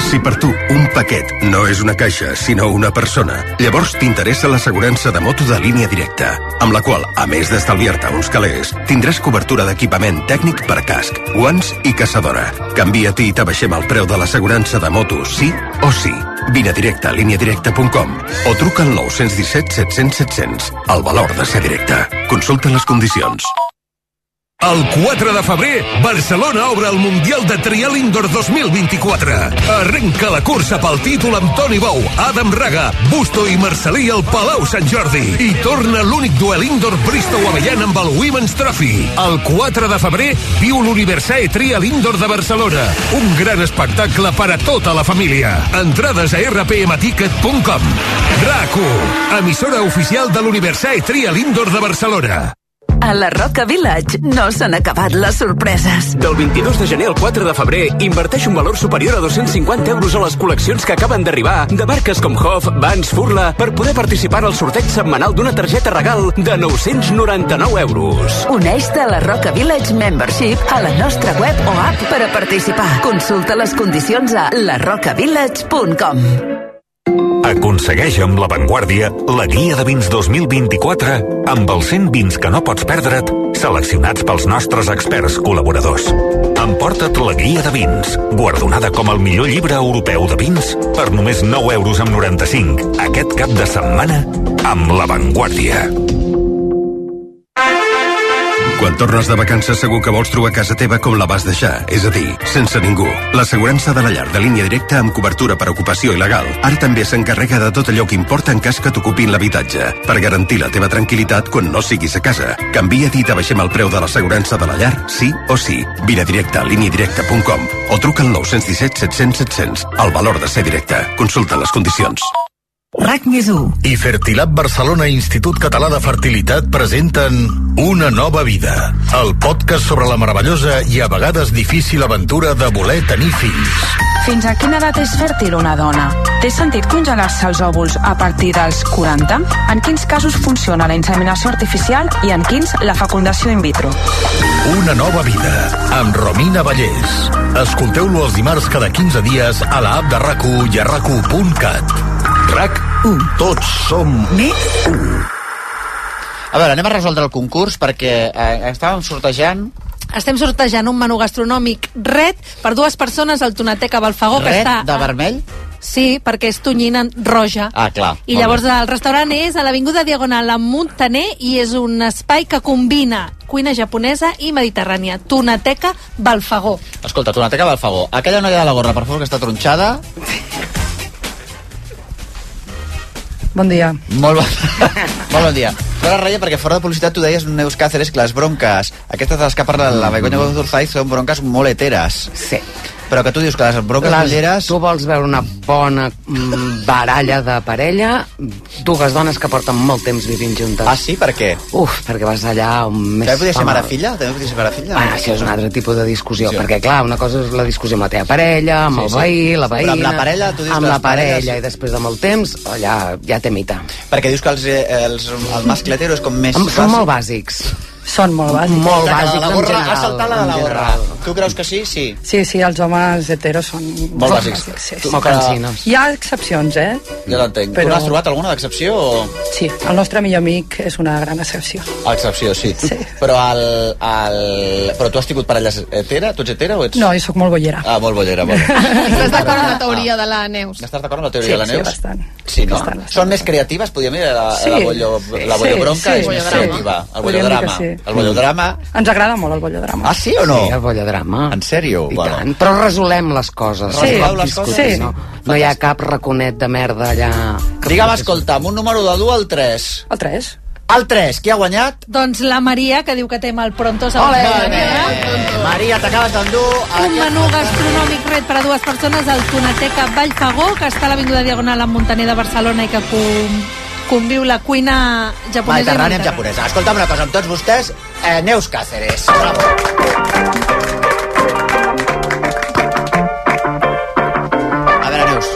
Speaker 19: Si per tu un paquet no és una caixa, sinó una persona, llavors t'interessa l'assegurança de moto de línia directa, amb la qual, a més d'estalviar-te uns calés, tindràs cobertura d'equipament tècnic per casc, guants i caçadora. Canvia-t'hi i t'abaixem el preu de l'assegurança de moto, sí o sí. Vine a directe a lineadirecta.com o truca al 917 700 700. El valor de ser directe. Consulta les condicions.
Speaker 20: El 4 de febrer, Barcelona obre el Mundial de Trial Indoor 2024. Arrenca la cursa pel títol amb Toni Bou, Adam Raga, Busto i Marcelí al Palau Sant Jordi. I torna l'únic duel indoor Bristow Avellan amb el Women's Trophy. El 4 de febrer viu l'Universae Trial Indoor de Barcelona. Un gran espectacle per a tota la família. Entrades a rpmticket.com. RAC1, emissora oficial de l'Universae Trial Indoor de Barcelona.
Speaker 21: A la Roca Village no s'han acabat les sorpreses.
Speaker 22: Del 22 de gener al 4 de febrer, inverteix un valor superior a 250 euros a les col·leccions que acaben d'arribar de marques com Hof, Vans, Furla, per poder participar al sorteig setmanal d'una targeta regal de 999 euros.
Speaker 21: Uneix-te a la Roca Village Membership a la nostra web o app per a participar. Consulta les condicions a larocavillage.com.
Speaker 23: Aconsegueix amb La Vanguardia la guia de vins 2024 amb els 100 vins que no pots perdre't seleccionats pels nostres experts col·laboradors. Emporta't la guia de vins, guardonada com el millor llibre europeu de vins per només 9 euros amb 95 aquest cap de setmana amb La Vanguardia.
Speaker 19: Quan tornes de vacances segur que vols trobar casa teva com la vas deixar, és a dir, sense ningú. L'assegurança de la llar de línia directa amb cobertura per ocupació il·legal ara també s'encarrega de tot allò que importa en cas que t'ocupin l'habitatge, per garantir la teva tranquil·litat quan no siguis a casa. Canvia't i t'abaixem el preu de l'assegurança de la llar, sí o sí. Vine a directe a líniadirecta.com o truca al 917 700 700. El valor de ser directe. Consulta les condicions.
Speaker 22: RAC més 1.
Speaker 1: I Fertilab Barcelona Institut Català de Fertilitat presenten Una nova vida, el podcast sobre la meravellosa i a vegades difícil aventura de voler tenir fills.
Speaker 24: Fins a quina edat és fèrtil una dona? Té sentit congelar-se els òvuls a partir dels 40? En quins casos funciona la inseminació artificial i en quins la fecundació in vitro?
Speaker 1: Una nova vida, amb Romina Vallès. Escolteu-lo els dimarts cada 15 dies a la app de rac i a rac
Speaker 4: RAC1.
Speaker 1: Tots som...
Speaker 4: Més? A veure, anem a resoldre el concurs perquè eh, estàvem sortejant...
Speaker 7: Estem sortejant un menú gastronòmic red per dues persones al Tonateca Balfagó, Oh, que
Speaker 4: Red
Speaker 7: està... ah.
Speaker 4: de vermell?
Speaker 7: Sí, perquè és tonyina roja.
Speaker 4: Ah, clar.
Speaker 7: I llavors el restaurant és a l'Avinguda Diagonal amb Montaner i és un espai que combina cuina japonesa i mediterrània. Tonateca Balfagó.
Speaker 4: Escolta, Tonateca Balfagó, aquella noia de la gorra, per favor, que està tronxada...
Speaker 14: Bon dia.
Speaker 4: Molt bon, molt bon dia. *laughs* Fora ratlla, perquè fora de publicitat tu deies, Neus Cáceres, que les bronques, aquestes de les que parla la Begoña Gómez Urzaiz, són bronques molt heteres.
Speaker 14: Mm. Sí.
Speaker 4: Però que tu dius que les bronques
Speaker 14: Les-
Speaker 4: mulleres...
Speaker 14: Tu vols veure una bona mm, baralla de parella, dues dones que porten molt temps vivint juntes.
Speaker 4: Ah, sí? Per què?
Speaker 14: Uf, perquè vas allà on més...
Speaker 4: També podria ser
Speaker 14: fama-
Speaker 4: mare-filla? També podria ser mare-filla?
Speaker 14: Bueno, això és un altre tipus de discussió, sí. perquè, clar, una cosa és la discussió amb la teva parella, amb
Speaker 4: Sí,
Speaker 14: el
Speaker 4: sí.
Speaker 14: veí, la
Speaker 4: Però
Speaker 14: veïna...
Speaker 4: amb la parella, tu dius que
Speaker 14: Amb la
Speaker 4: les
Speaker 14: parella,
Speaker 4: parelles-
Speaker 14: i després de molt temps, allà ja té mita.
Speaker 4: Perquè dius que els, eh, els, el mascle hetero és com més...
Speaker 14: Em- Són
Speaker 4: bàsic.
Speaker 14: molt bàsics. Són molt
Speaker 4: bàsics.
Speaker 14: Molt
Speaker 4: Exacte, la de
Speaker 14: bàsics,
Speaker 4: la
Speaker 14: en
Speaker 4: gorra,
Speaker 14: general.
Speaker 4: ha saltat la de
Speaker 14: en
Speaker 4: la gorra.
Speaker 14: general.
Speaker 4: Tu creus que sí? Sí.
Speaker 25: Sí, sí, els homes heteros són...
Speaker 4: Molt bàsics.
Speaker 25: sí,
Speaker 4: Tu-
Speaker 25: sí.
Speaker 4: molt cansinos.
Speaker 25: Hi ha excepcions, eh?
Speaker 4: Ja l'entenc. Però...
Speaker 25: Però-
Speaker 4: Tu n'has trobat alguna d'excepció o...?
Speaker 25: Sí, el nostre millor amic és una gran excepció.
Speaker 4: Excepció, sí. sí. Però, el, el... Però tu has tingut parelles hetera? Tu ets hetera o ets...
Speaker 25: No, jo sóc molt bollera.
Speaker 4: Ah, molt bollera, molt bé.
Speaker 8: Estàs d'acord amb la teoria de la Neus?
Speaker 4: Estàs d'acord amb la teoria
Speaker 25: Sí,
Speaker 4: de la
Speaker 25: sí,
Speaker 4: Neus?
Speaker 25: bastant.
Speaker 4: Sí, no? Són més creatives, podríem dir, la, la,
Speaker 25: Sí.
Speaker 4: bollo, la
Speaker 25: Sí,
Speaker 4: bollobronca
Speaker 25: sí,
Speaker 4: és més
Speaker 25: sí.
Speaker 4: creativa. El
Speaker 25: Podríem dir que
Speaker 4: bollodrama.
Speaker 25: sí.
Speaker 4: El bollodrama...
Speaker 25: Ens agrada molt el bollodrama.
Speaker 4: Ah, sí o no?
Speaker 14: Sí, el bollodrama.
Speaker 4: En sèrio?
Speaker 14: I tant. Però resolem les coses.
Speaker 4: Sí.
Speaker 14: no cal
Speaker 4: Les coses,
Speaker 14: discutir,
Speaker 4: sí.
Speaker 14: No, no hi ha cap raconet de merda allà.
Speaker 25: Mm.
Speaker 4: Digue'm, escolta'm, un número de 2 al 3.
Speaker 25: El 3.
Speaker 4: El 3, qui ha guanyat?
Speaker 7: Doncs la Maria, que diu que té mal pronto.
Speaker 4: Ole, Maria, t'acabes d'endur...
Speaker 7: Un menú gastronòmic ret per a dues persones al Tonateca Vallfagó, que està a l'Avinguda Diagonal amb Montaner de Barcelona i que com, conviu la cuina japonesa i
Speaker 4: Mediterrània amb japonesa. Escolta'm una cosa, amb tots vostès, eh, Neus Cáceres. Bravo. A veure, Neus.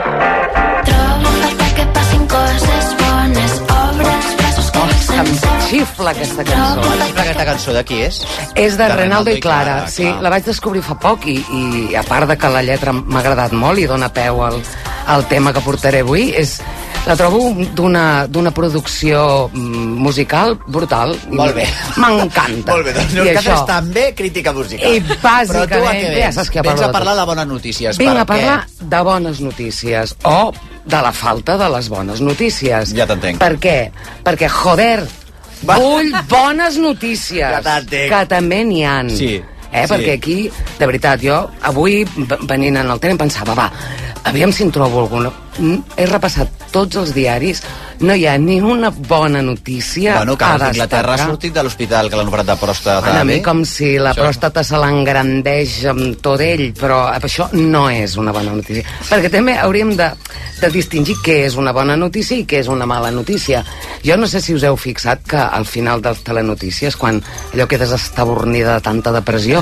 Speaker 16: Trobo falta que passin
Speaker 4: *laughs* Oh,
Speaker 16: coses bones, obres, braços que no se'm
Speaker 14: Xifla aquesta cançó.
Speaker 4: Xifla aquesta cançó eh? de qui és?
Speaker 14: És de,
Speaker 4: De Renaldo
Speaker 14: Renaldo
Speaker 4: i
Speaker 14: i Clara,
Speaker 4: Clara,
Speaker 14: sí.
Speaker 4: clar.
Speaker 14: La vaig descobrir fa poc i, i a part de que la lletra m'ha agradat molt i dona peu al, al tema que portaré avui, és la trobo d'una d'una producció mm, musical brutal.
Speaker 4: Molt bé.
Speaker 14: M'encanta.
Speaker 4: Molt bé, doncs Neus
Speaker 14: I
Speaker 4: Cáceres
Speaker 14: això,
Speaker 4: també crítica musical.
Speaker 14: I bàsicament,
Speaker 4: Però tu a què vens?
Speaker 14: ja saps que
Speaker 4: vens
Speaker 14: parlo
Speaker 4: a
Speaker 14: de
Speaker 4: parlar
Speaker 14: tot.
Speaker 4: de bones notícies.
Speaker 14: Vinc
Speaker 4: per
Speaker 14: a parlar
Speaker 4: Què?
Speaker 14: de bones notícies o de la falta de les bones notícies.
Speaker 4: Ja t'entenc.
Speaker 14: Per què? Perquè, joder, Va. vull bones notícies.
Speaker 4: Ja t'entenc.
Speaker 14: Que també n'hi han.
Speaker 4: Sí,
Speaker 14: Eh,
Speaker 4: sí.
Speaker 14: Perquè aquí, de veritat, jo avui v- venint en el tren pensava, va, aviam si en trobo alguna. Mm, He repassat tots els diaris, no hi ha ni una bona notícia
Speaker 4: Bueno, que
Speaker 14: a
Speaker 4: d'Inglaterra ha
Speaker 14: destacar.
Speaker 4: sortit de l'hospital que l'han operat de pròstata.
Speaker 14: Bueno, a mi
Speaker 4: bé?
Speaker 14: com si la
Speaker 4: Això-
Speaker 14: pròstata se l'engrandeix amb tot ell, però això no és una bona notícia. Perquè també hauríem de, de distingir què és una bona notícia i què és una mala notícia. Jo no sé si us heu fixat que al final de les telenotícies, quan allò quedes estabornida de tanta
Speaker 4: *laughs*
Speaker 14: depressió,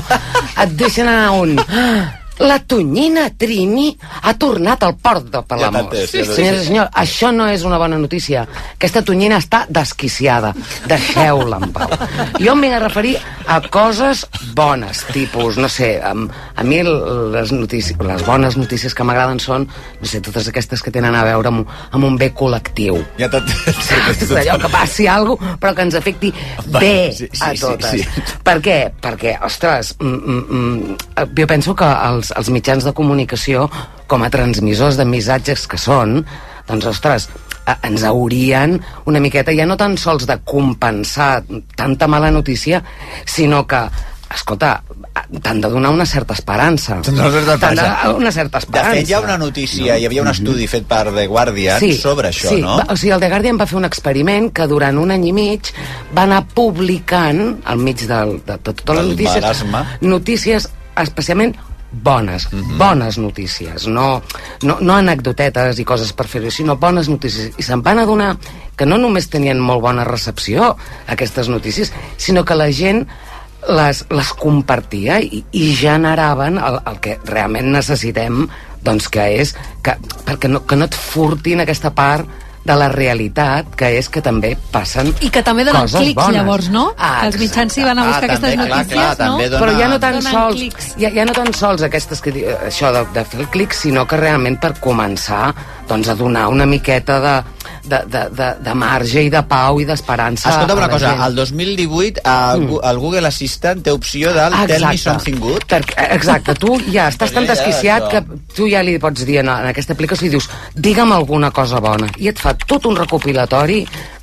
Speaker 14: et deixen anar un... "Ah, La tonyina Trini ha tornat al port de Palamós.
Speaker 4: t'he entès, ja t'he
Speaker 14: Senyores i
Speaker 4: entès.
Speaker 14: senyor, això no és una bona notícia. Aquesta tonyina està desquiciada. Deixeu-la en pau. Jo m'he de referir a coses bones, tipus, no sé, a, a mi les, notícies, les bones notícies que m'agraden són, no sé, totes aquestes que tenen a veure amb, un- amb un bé col·lectiu.
Speaker 4: Ja t'entens.
Speaker 14: És allò que passi alguna però que ens afecti
Speaker 4: Va,
Speaker 14: bé
Speaker 4: sí, sí,
Speaker 14: a
Speaker 4: sí,
Speaker 14: totes.
Speaker 4: sí.
Speaker 14: Per què? Perquè, ostres, mm, mm, mm, eh, jo penso que els, els mitjans de comunicació, com a transmissors de missatges que són, doncs, ostres, eh, ens haurien una miqueta ja no tan sols de compensar tanta mala notícia, sinó que escolta, eh, t'han de donar una certa esperança.
Speaker 4: T'han de donar una certa
Speaker 14: T'han de
Speaker 4: esperança.
Speaker 14: donar una certa
Speaker 4: De
Speaker 14: esperança.
Speaker 4: fet, hi ha una notícia, hi havia un estudi fet per The Guardian sobre això,
Speaker 14: sí.
Speaker 4: no?
Speaker 14: Va, o sigui, el The Guardian va fer un experiment que durant un any i mig va anar publicant, al mig del, de, de totes les
Speaker 4: Del
Speaker 14: notícies,
Speaker 4: marasme. Mhm.
Speaker 14: notícies especialment bones, bones notícies, no, no, no anecdotetes i coses per fer-ho, sinó bones notícies. I se'n van adonar que no només tenien molt bona recepció aquestes notícies, sinó que la gent les, les compartia i, i generaven el, el que realment necessitem, doncs que és que, perquè no, que no et furtin aquesta part de la realitat, que és que també passen
Speaker 7: I que també donen
Speaker 14: coses
Speaker 7: clics,
Speaker 14: bones.
Speaker 7: llavors, no?
Speaker 14: Ah,
Speaker 7: que els mitjans s'hi van a
Speaker 14: Ah,
Speaker 7: buscar
Speaker 14: també,
Speaker 7: aquestes
Speaker 14: clar,
Speaker 7: notícies,
Speaker 14: clar,
Speaker 7: no?
Speaker 14: també donen- Però ja no tan
Speaker 7: Donen
Speaker 14: sols,
Speaker 7: clics.
Speaker 14: ja, ja no tan sols aquestes que di- eh, això de, de fer el clic, sinó que realment per començar doncs, a donar una miqueta de, de, de, de, de marge i de pau i d'esperança.
Speaker 4: Escolta'm
Speaker 14: a
Speaker 4: una
Speaker 14: la
Speaker 4: cosa,
Speaker 14: gent.
Speaker 4: el 2018 a, mm. el Google Assistant té opció del
Speaker 14: Ah,
Speaker 4: Tell me
Speaker 14: exacte.
Speaker 4: something good.
Speaker 14: Eh, Exacte, tu ja estàs tan
Speaker 4: Podria ser,
Speaker 14: desquiciat
Speaker 4: això.
Speaker 14: que tu ja li pots dir en, en aquesta aplicació i dius, digue'm alguna cosa bona i et fa tot un recopilatori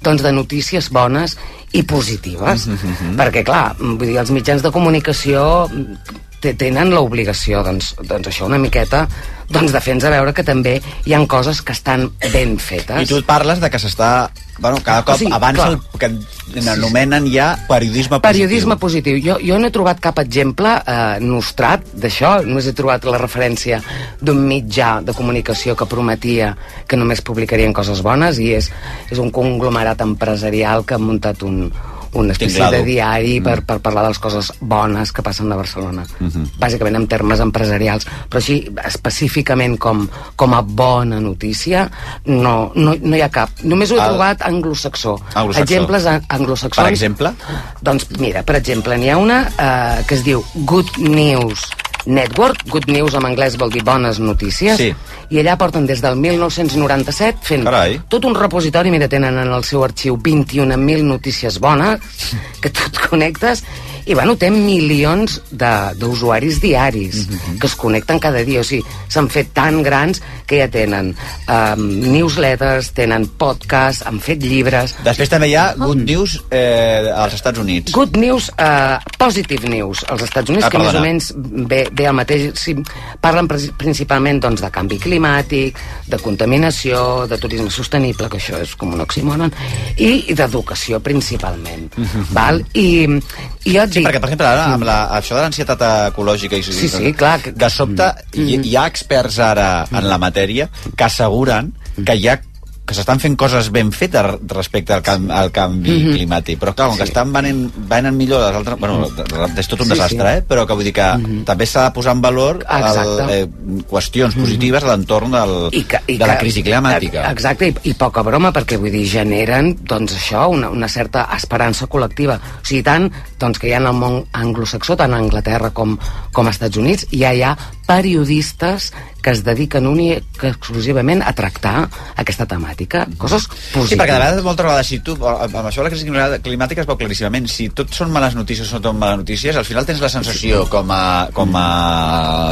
Speaker 14: doncs, de notícies bones i positives,
Speaker 4: Mhm.
Speaker 14: perquè clar vull dir, els mitjans de comunicació mm, te- tenen l'obligació doncs, doncs això una miqueta doncs de fer-nos a veure que també hi han coses que estan ben fetes
Speaker 4: I tu parles de que s'està... Bueno, cada cop
Speaker 14: O sigui,
Speaker 4: abans
Speaker 14: clar.
Speaker 4: el, que n'anomenen ja periodisme positiu.
Speaker 14: Periodisme positiu. Jo, jo no he trobat cap exemple eh, nostrat d'això, només he trobat la referència d'un mitjà de comunicació que prometia que només publicarien coses bones i és, és un conglomerat empresarial que ha muntat un, una espècie
Speaker 4: Tinglado.
Speaker 14: de diari per, per parlar de les coses bones que passen a Barcelona. Bàsicament en termes empresarials, però així específicament com, com a bona notícia no, no, no hi ha cap. Només ho he
Speaker 4: El-
Speaker 14: trobat anglosaxó.
Speaker 4: Ah. Anglosaxó.
Speaker 14: Exemples an- anglosaxons.
Speaker 4: Per exemple?
Speaker 14: Doncs mira, per exemple, n'hi ha una eh, que es diu Good News Network, Good News en anglès vol dir bones notícies,
Speaker 4: Sí.
Speaker 14: i allà porten des del 1997 fent
Speaker 4: Carai.
Speaker 14: tot un repositori, mira, tenen en el seu arxiu 21.000 notícies bones, que tu et connectes, i bueno, té milions de- d'usuaris diaris
Speaker 4: Mhm,
Speaker 14: que es connecten cada dia, o sigui, s'han fet tan grans que ja tenen um, newsletters, tenen podcasts, han fet llibres...
Speaker 4: Després també hi ha Good News eh, als Estats Units.
Speaker 14: Good news, uh, positive news als Estats Units,
Speaker 4: Ah,
Speaker 14: ah, que més o
Speaker 4: perdona.
Speaker 14: menys ve, ve el mateix. Si parlen pres- principalment doncs, de canvi climàtic, de contaminació, de turisme sostenible, que això és com un oxímoron, i, i d'educació principalment. Val? I, i jo et
Speaker 4: Sí,
Speaker 14: dic...
Speaker 4: perquè, per exemple, ara, amb la, això de l'ansietat ecològica... I,
Speaker 14: Sí, sí, clar. Que... Mm.
Speaker 4: De sobte, hi, hi ha experts ara en la matèria que asseguren que hi ha que s'estan fent coses ben fetes respecte al, cam, al canvi
Speaker 14: Mhm.
Speaker 4: climàtic. Però, clar, com que
Speaker 14: Sí.
Speaker 4: estan venent, venen millor les altres... Bueno, és tot un
Speaker 14: Sí,
Speaker 4: desastre,
Speaker 14: sí. Mhm.
Speaker 4: eh? Però que vull dir que també s'ha de posar en valor el,
Speaker 14: Exacte.
Speaker 4: eh, qüestions positives a l'entorn del,
Speaker 14: I que, i
Speaker 4: de la
Speaker 14: que- Eh,
Speaker 4: crisi climàtica.
Speaker 14: Exacte, i, i poca broma, perquè vull dir, generen, doncs això, una, una certa esperança col·lectiva. O sigui, tant doncs, que hi ha en el món anglosaxó, tant a Anglaterra com, com a Estats Units, ja hi ha periodistes que es dediquen únic, exclusivament a tractar aquesta temàtica. Coses positives.
Speaker 4: Sí, perquè de vegades, moltes vegades, si tu, amb això de la crisi climà- climàtica es veu claríssimament, si tot són males notícies o tot males notícies, al final tens la sensació com a, com a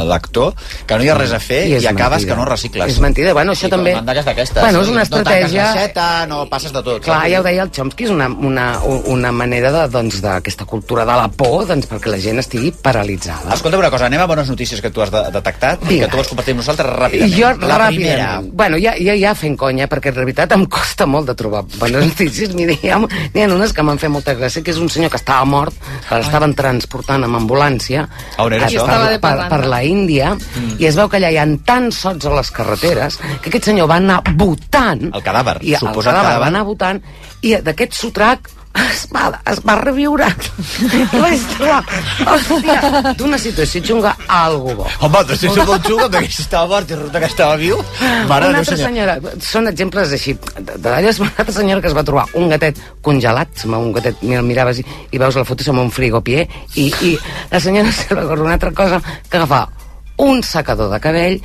Speaker 4: lector que no hi ha res a fer i,
Speaker 14: és
Speaker 4: acabes
Speaker 14: mentida.
Speaker 4: que no recicles.
Speaker 14: És mentida. Bueno, això
Speaker 4: I
Speaker 14: també-
Speaker 4: com mandagues d'aquestes.
Speaker 14: Bueno, és una
Speaker 4: No
Speaker 14: estratègia-
Speaker 4: tanques l'aixeta, no passes de tot. eh?
Speaker 14: Clar,
Speaker 4: saps?
Speaker 14: ja ho deia el Chomsky, és una, una, una manera de, doncs, d'aquesta cultura de la por doncs, perquè la gent estigui paralitzada.
Speaker 4: Escolta'm una cosa, anem a bones notícies que tu has de- detectat i
Speaker 14: Vinga.
Speaker 4: que tu vols compartir amb nosaltres ràpidament.
Speaker 14: Jo,
Speaker 4: la
Speaker 14: ràpidament.
Speaker 4: primera.
Speaker 14: Bueno, ja, ja, ja fent conya, perquè en realitat em costa molt de trobar bones notícies. Mira, hi ha, hi ha unes que m'han fet molta gràcia, que és un senyor que estava mort, que l'estaven transportant amb ambulància
Speaker 4: A on era
Speaker 14: eh,
Speaker 4: això?
Speaker 14: per,
Speaker 4: Estava de
Speaker 14: per,
Speaker 4: parranda.
Speaker 14: per la Índia, mm. i es veu que allà hi ha tants sots a les carreteres que aquest senyor va anar votant...
Speaker 4: El cadàver,
Speaker 14: I el
Speaker 4: suposat
Speaker 14: cadàver va
Speaker 4: cadàver.
Speaker 14: anar votant, i d'aquest sotrac es va, es va reviure.
Speaker 4: *laughs*
Speaker 14: I vaig trobar, hòstia, d'una situació xunga, algo bo.
Speaker 4: Home, doncs si sóc molt xuga, perquè si estava mort i resulta que estava viu... Mare de
Speaker 14: una
Speaker 4: Déu,
Speaker 14: altra
Speaker 4: senyor.
Speaker 14: senyora, són exemples així de- d'allò és una altra senyora que es va trobar un gatet congelat, se m'ha- un gatet mira, el miraves i, i veus la foto i se'm un frigopié i, i la senyora se va recordar una altra cosa que agafar un secador de cabell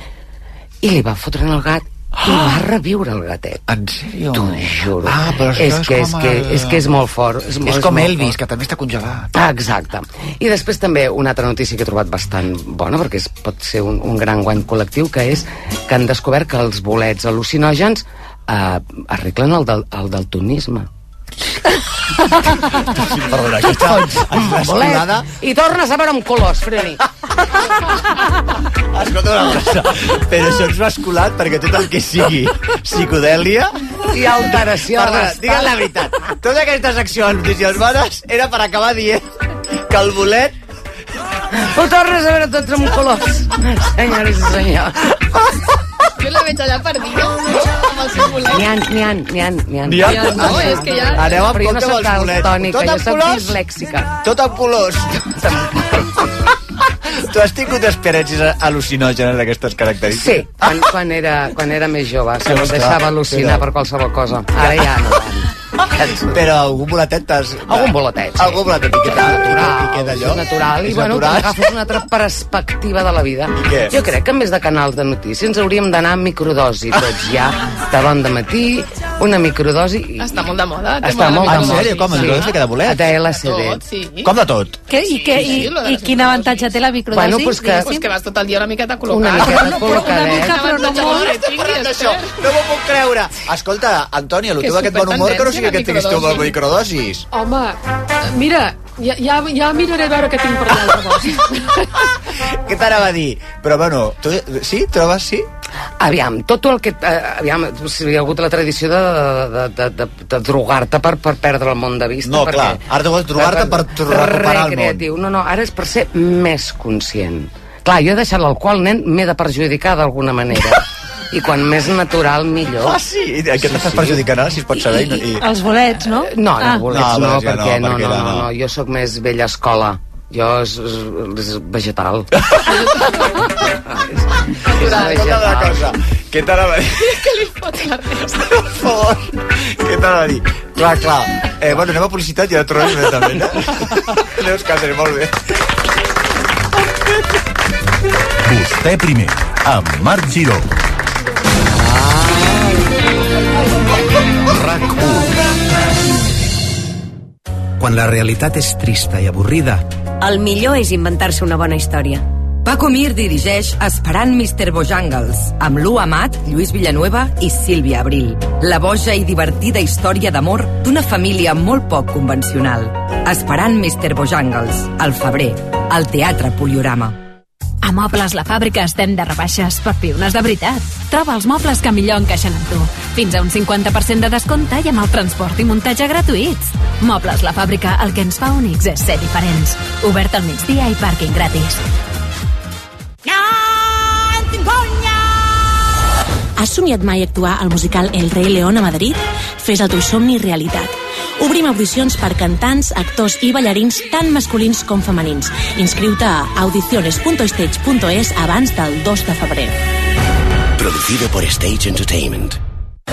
Speaker 14: i li va fotre en el gat i va reviure el gatet
Speaker 4: *laughs* en sèrio?
Speaker 14: t'ho juro
Speaker 4: Ah, però això
Speaker 14: és,
Speaker 4: és
Speaker 14: que, és,
Speaker 4: com
Speaker 14: que,
Speaker 4: el-
Speaker 14: és que és molt fort és, molt,
Speaker 4: És com
Speaker 14: molt
Speaker 4: Elvis,
Speaker 14: fort.
Speaker 4: que també està congelat.
Speaker 14: Ah, exacte. I després també una altra notícia que he trobat bastant bona, perquè es, pot ser un, un gran guany col·lectiu, que és que han descobert que els bolets al·lucinògens eh, arreglen el, del, el daltonisme.
Speaker 4: Perdona, aquesta és una escolada...
Speaker 14: I tornes a veure amb colors, Freni.
Speaker 4: Escolta una cosa, però això ens va escolat perquè tot el que sigui psicodèlia...
Speaker 14: I alteració de
Speaker 4: Perdona,
Speaker 14: l'estat.
Speaker 4: digue'm la veritat. Totes aquestes accions, notícies bones, era per acabar dient que el bolet...
Speaker 14: Ho tornes a veure tot amb colors, senyores i senyors.
Speaker 8: Jo la veig allà perdida, amb el seu bolet.
Speaker 14: N'hi ha, n'hi ha, n'hi ha, n'hi ha.
Speaker 4: N'hi ha?
Speaker 8: No, és que ja...
Speaker 4: Aneu amb
Speaker 14: Però jo no
Speaker 4: compte amb
Speaker 14: soc
Speaker 4: els bolets.
Speaker 14: daltònica,
Speaker 4: Tot
Speaker 14: jo
Speaker 4: amb
Speaker 14: soc
Speaker 4: colors?
Speaker 14: dislèxica.
Speaker 4: Tot amb colors. Tu has tingut experiències al·lucinògenes d'aquestes
Speaker 14: Sí,
Speaker 4: característiques?
Speaker 14: quan, quan, era, quan era més jove, que em
Speaker 4: Ostres,
Speaker 14: deixava al·lucinar
Speaker 4: era.
Speaker 14: per qualsevol cosa. Ara ja no.
Speaker 4: Però algun boletet t'has...
Speaker 14: Algun boletet, sí.
Speaker 4: Algun boletet. I què tal? I què d'allò?
Speaker 14: és natural i
Speaker 4: És
Speaker 14: bueno,
Speaker 4: natural?
Speaker 14: agafes una altra perspectiva de la vida.
Speaker 4: què?
Speaker 14: Jo crec que en més de canals de notícies ens hauríem d'anar amb microdosi tots ja de bon de matí, Una microdosi i...
Speaker 8: Està molt de moda. té
Speaker 14: Està molt
Speaker 8: la
Speaker 14: de moda.
Speaker 8: microdosi.
Speaker 4: En sèrio, com?
Speaker 14: Sí.
Speaker 4: Microdosi de bolet?
Speaker 14: De LSD.
Speaker 8: Tot, sí.
Speaker 4: Com de tot?
Speaker 7: Que, I, que, i, i quin avantatge té la microdosi?
Speaker 14: Bueno, pues que-
Speaker 8: Pues que vas tot el dia una miqueta col·locat.
Speaker 14: Una miqueta col·locadet.
Speaker 4: Però no molt. Això, no m'ho puc creure. Escolta, Antònia, el
Speaker 13: Que
Speaker 4: teu aquest bon humor, que no sigui
Speaker 13: supertendència,
Speaker 4: que tinguis tu
Speaker 13: microdosi.
Speaker 4: la microdosis.
Speaker 13: Home, eh, mira, ja, ja, ja miraré a veure què tinc per l'altra cosa.
Speaker 4: Què t'anava a dir? Però bueno, tu, sí? Trobes sí?
Speaker 14: Aviam, tot el que... eh, aviam, si hi ha hagut la tradició de, de, de, de, de drogar-te per, per perdre el món de vista.
Speaker 4: No, clar, ara tu vols drogar-te per tr- recuperar el món.
Speaker 14: Recreatiu. No, no, ara és per ser més conscient. Clar, jo he deixat l'alcohol, nen, m'he de perjudicar d'alguna
Speaker 4: *laughs*
Speaker 14: manera. I quan més natural, millor.
Speaker 4: Ah, sí? I què t'estàs perjudicant ara, si es pot saber? I, i...
Speaker 7: Els bolets, no?
Speaker 14: Eh, No, no,
Speaker 7: Ah.
Speaker 14: bolets,
Speaker 4: No, bolets
Speaker 14: no,
Speaker 4: ja no,
Speaker 14: perquè no,
Speaker 4: perquè ja
Speaker 14: no, no,
Speaker 4: no.
Speaker 14: no, jo sóc més vella escola. Jo és, és, és vegetal.
Speaker 4: Escolta una cosa, què t'anava a dir?
Speaker 8: Que li fot
Speaker 4: *laughs*
Speaker 8: la resta.
Speaker 4: Per favor, què t'anava a dir? Clar, clar, eh, bueno, anem a publicitat i ara tornem immediatament, eh? Neus Cáceres, molt bé.
Speaker 1: Vostè primer, amb Marc Giró.
Speaker 2: Quan la realitat és trista i avorrida,
Speaker 26: El millor és inventar-se una bona història.
Speaker 5: Paco Mir dirigeix Esperant Mr. Bojangles, amb Lu Amat, Lluís Villanueva i Sílvia Abril. La boja i divertida història d'amor d'una família molt poc convencional. Esperant Mr. Bojangles, al febrer, al Teatre Poliorama.
Speaker 6: A Mobles La Fàbrica estem de rebaixes per piones de veritat. Troba els mobles que millor encaixen amb tu. Fins a un 50% de descompte i amb el transport i muntatge gratuïts. Mobles La Fàbrica, el que ens fa únics és ser diferents. Obert al migdia i pàrquing gratis.
Speaker 10: Has somiat mai actuar al musical El rei León a Madrid? Fes el teu somni realitat. Obrim audicions per cantants, actors i ballarins tant masculins com femenins. Inscriu-te a audiciones.stage.es abans del 2 de febrer.
Speaker 18: Producido por Stage Entertainment.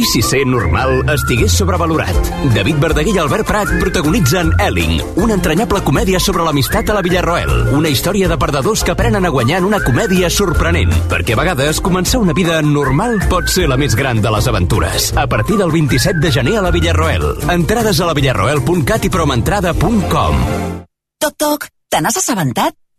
Speaker 22: I si ser normal estigués sobrevalorat? David Verdaguer i Albert Prat protagonitzen Elling, una entranyable comèdia sobre l'amistat a la Villarroel. Una història de perdedors que aprenen a guanyar en una comèdia sorprenent. Perquè a vegades començar una vida normal pot ser la més gran de les aventures. A partir del 27 de gener a la Villarroel. Entrades a la villarroel.cat i promentrada.com.
Speaker 27: Toc, toc, te n'has assabentat?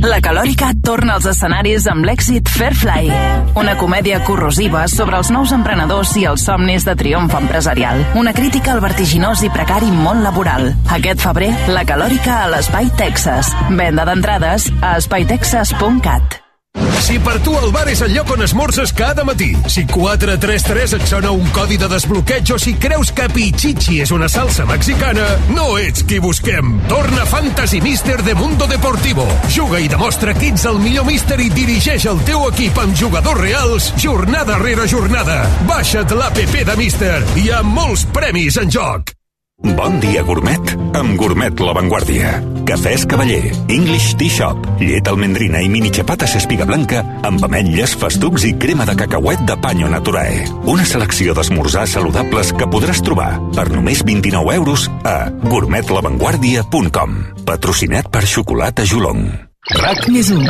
Speaker 28: La Calòrica torna als escenaris amb l'èxit Fairfly, una comèdia corrosiva sobre els nous emprenedors i els somnis de triomf empresarial. Una crítica al vertiginós i precari món laboral. Aquest febrer, La Calòrica a l'Espai Texas. Venda d'entrades a espaitexas.cat.
Speaker 20: Si per tu el bar és el lloc on esmorzes cada matí, si 433 et sona un codi de desbloqueig o si creus que Pichichi és una salsa mexicana, no ets qui busquem. Torna Fantasy Mister de Mundo Deportivo. Juga i demostra que ets el millor míster i dirigeix el teu equip amb jugadors reals jornada rere jornada. Baixa't l'APP de Mister. Hi ha molts premis en joc.
Speaker 23: Bon dia, gourmet, amb Gourmet La Vanguardia. Cafès Cavaller, English Tea Shop, llet almendrina i mini xapates espiga blanca amb ametlles, festucs i crema de cacauet de panyo naturae. Una selecció d'esmorzar saludables que podràs trobar per només 29 euros a gourmetlavanguardia.com. Patrocinat per Xocolata Jolong.
Speaker 1: RAC més 1,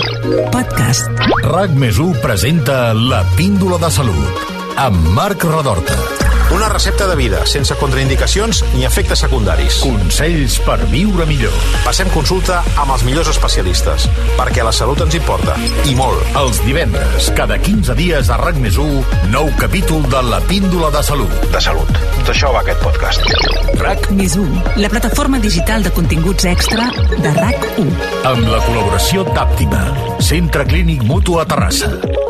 Speaker 1: podcast. RAC més 1 presenta La píndola de salut, amb Marc Redorta.
Speaker 29: Una recepta de vida, sense contraindicacions ni efectes secundaris. Consells per viure millor. Passem consulta amb els millors especialistes, perquè la salut ens importa, i molt.
Speaker 1: Els divendres, cada 15 dies a RAC més 1, nou capítol de La píndola de salut. De salut. D'això va aquest podcast. RAC
Speaker 28: Més 1, la plataforma digital de continguts extra de RAC1.
Speaker 1: amb la col·laboració d'Àptima, Centre Clínic Mutu a Terrassa.
Speaker 4: Oh.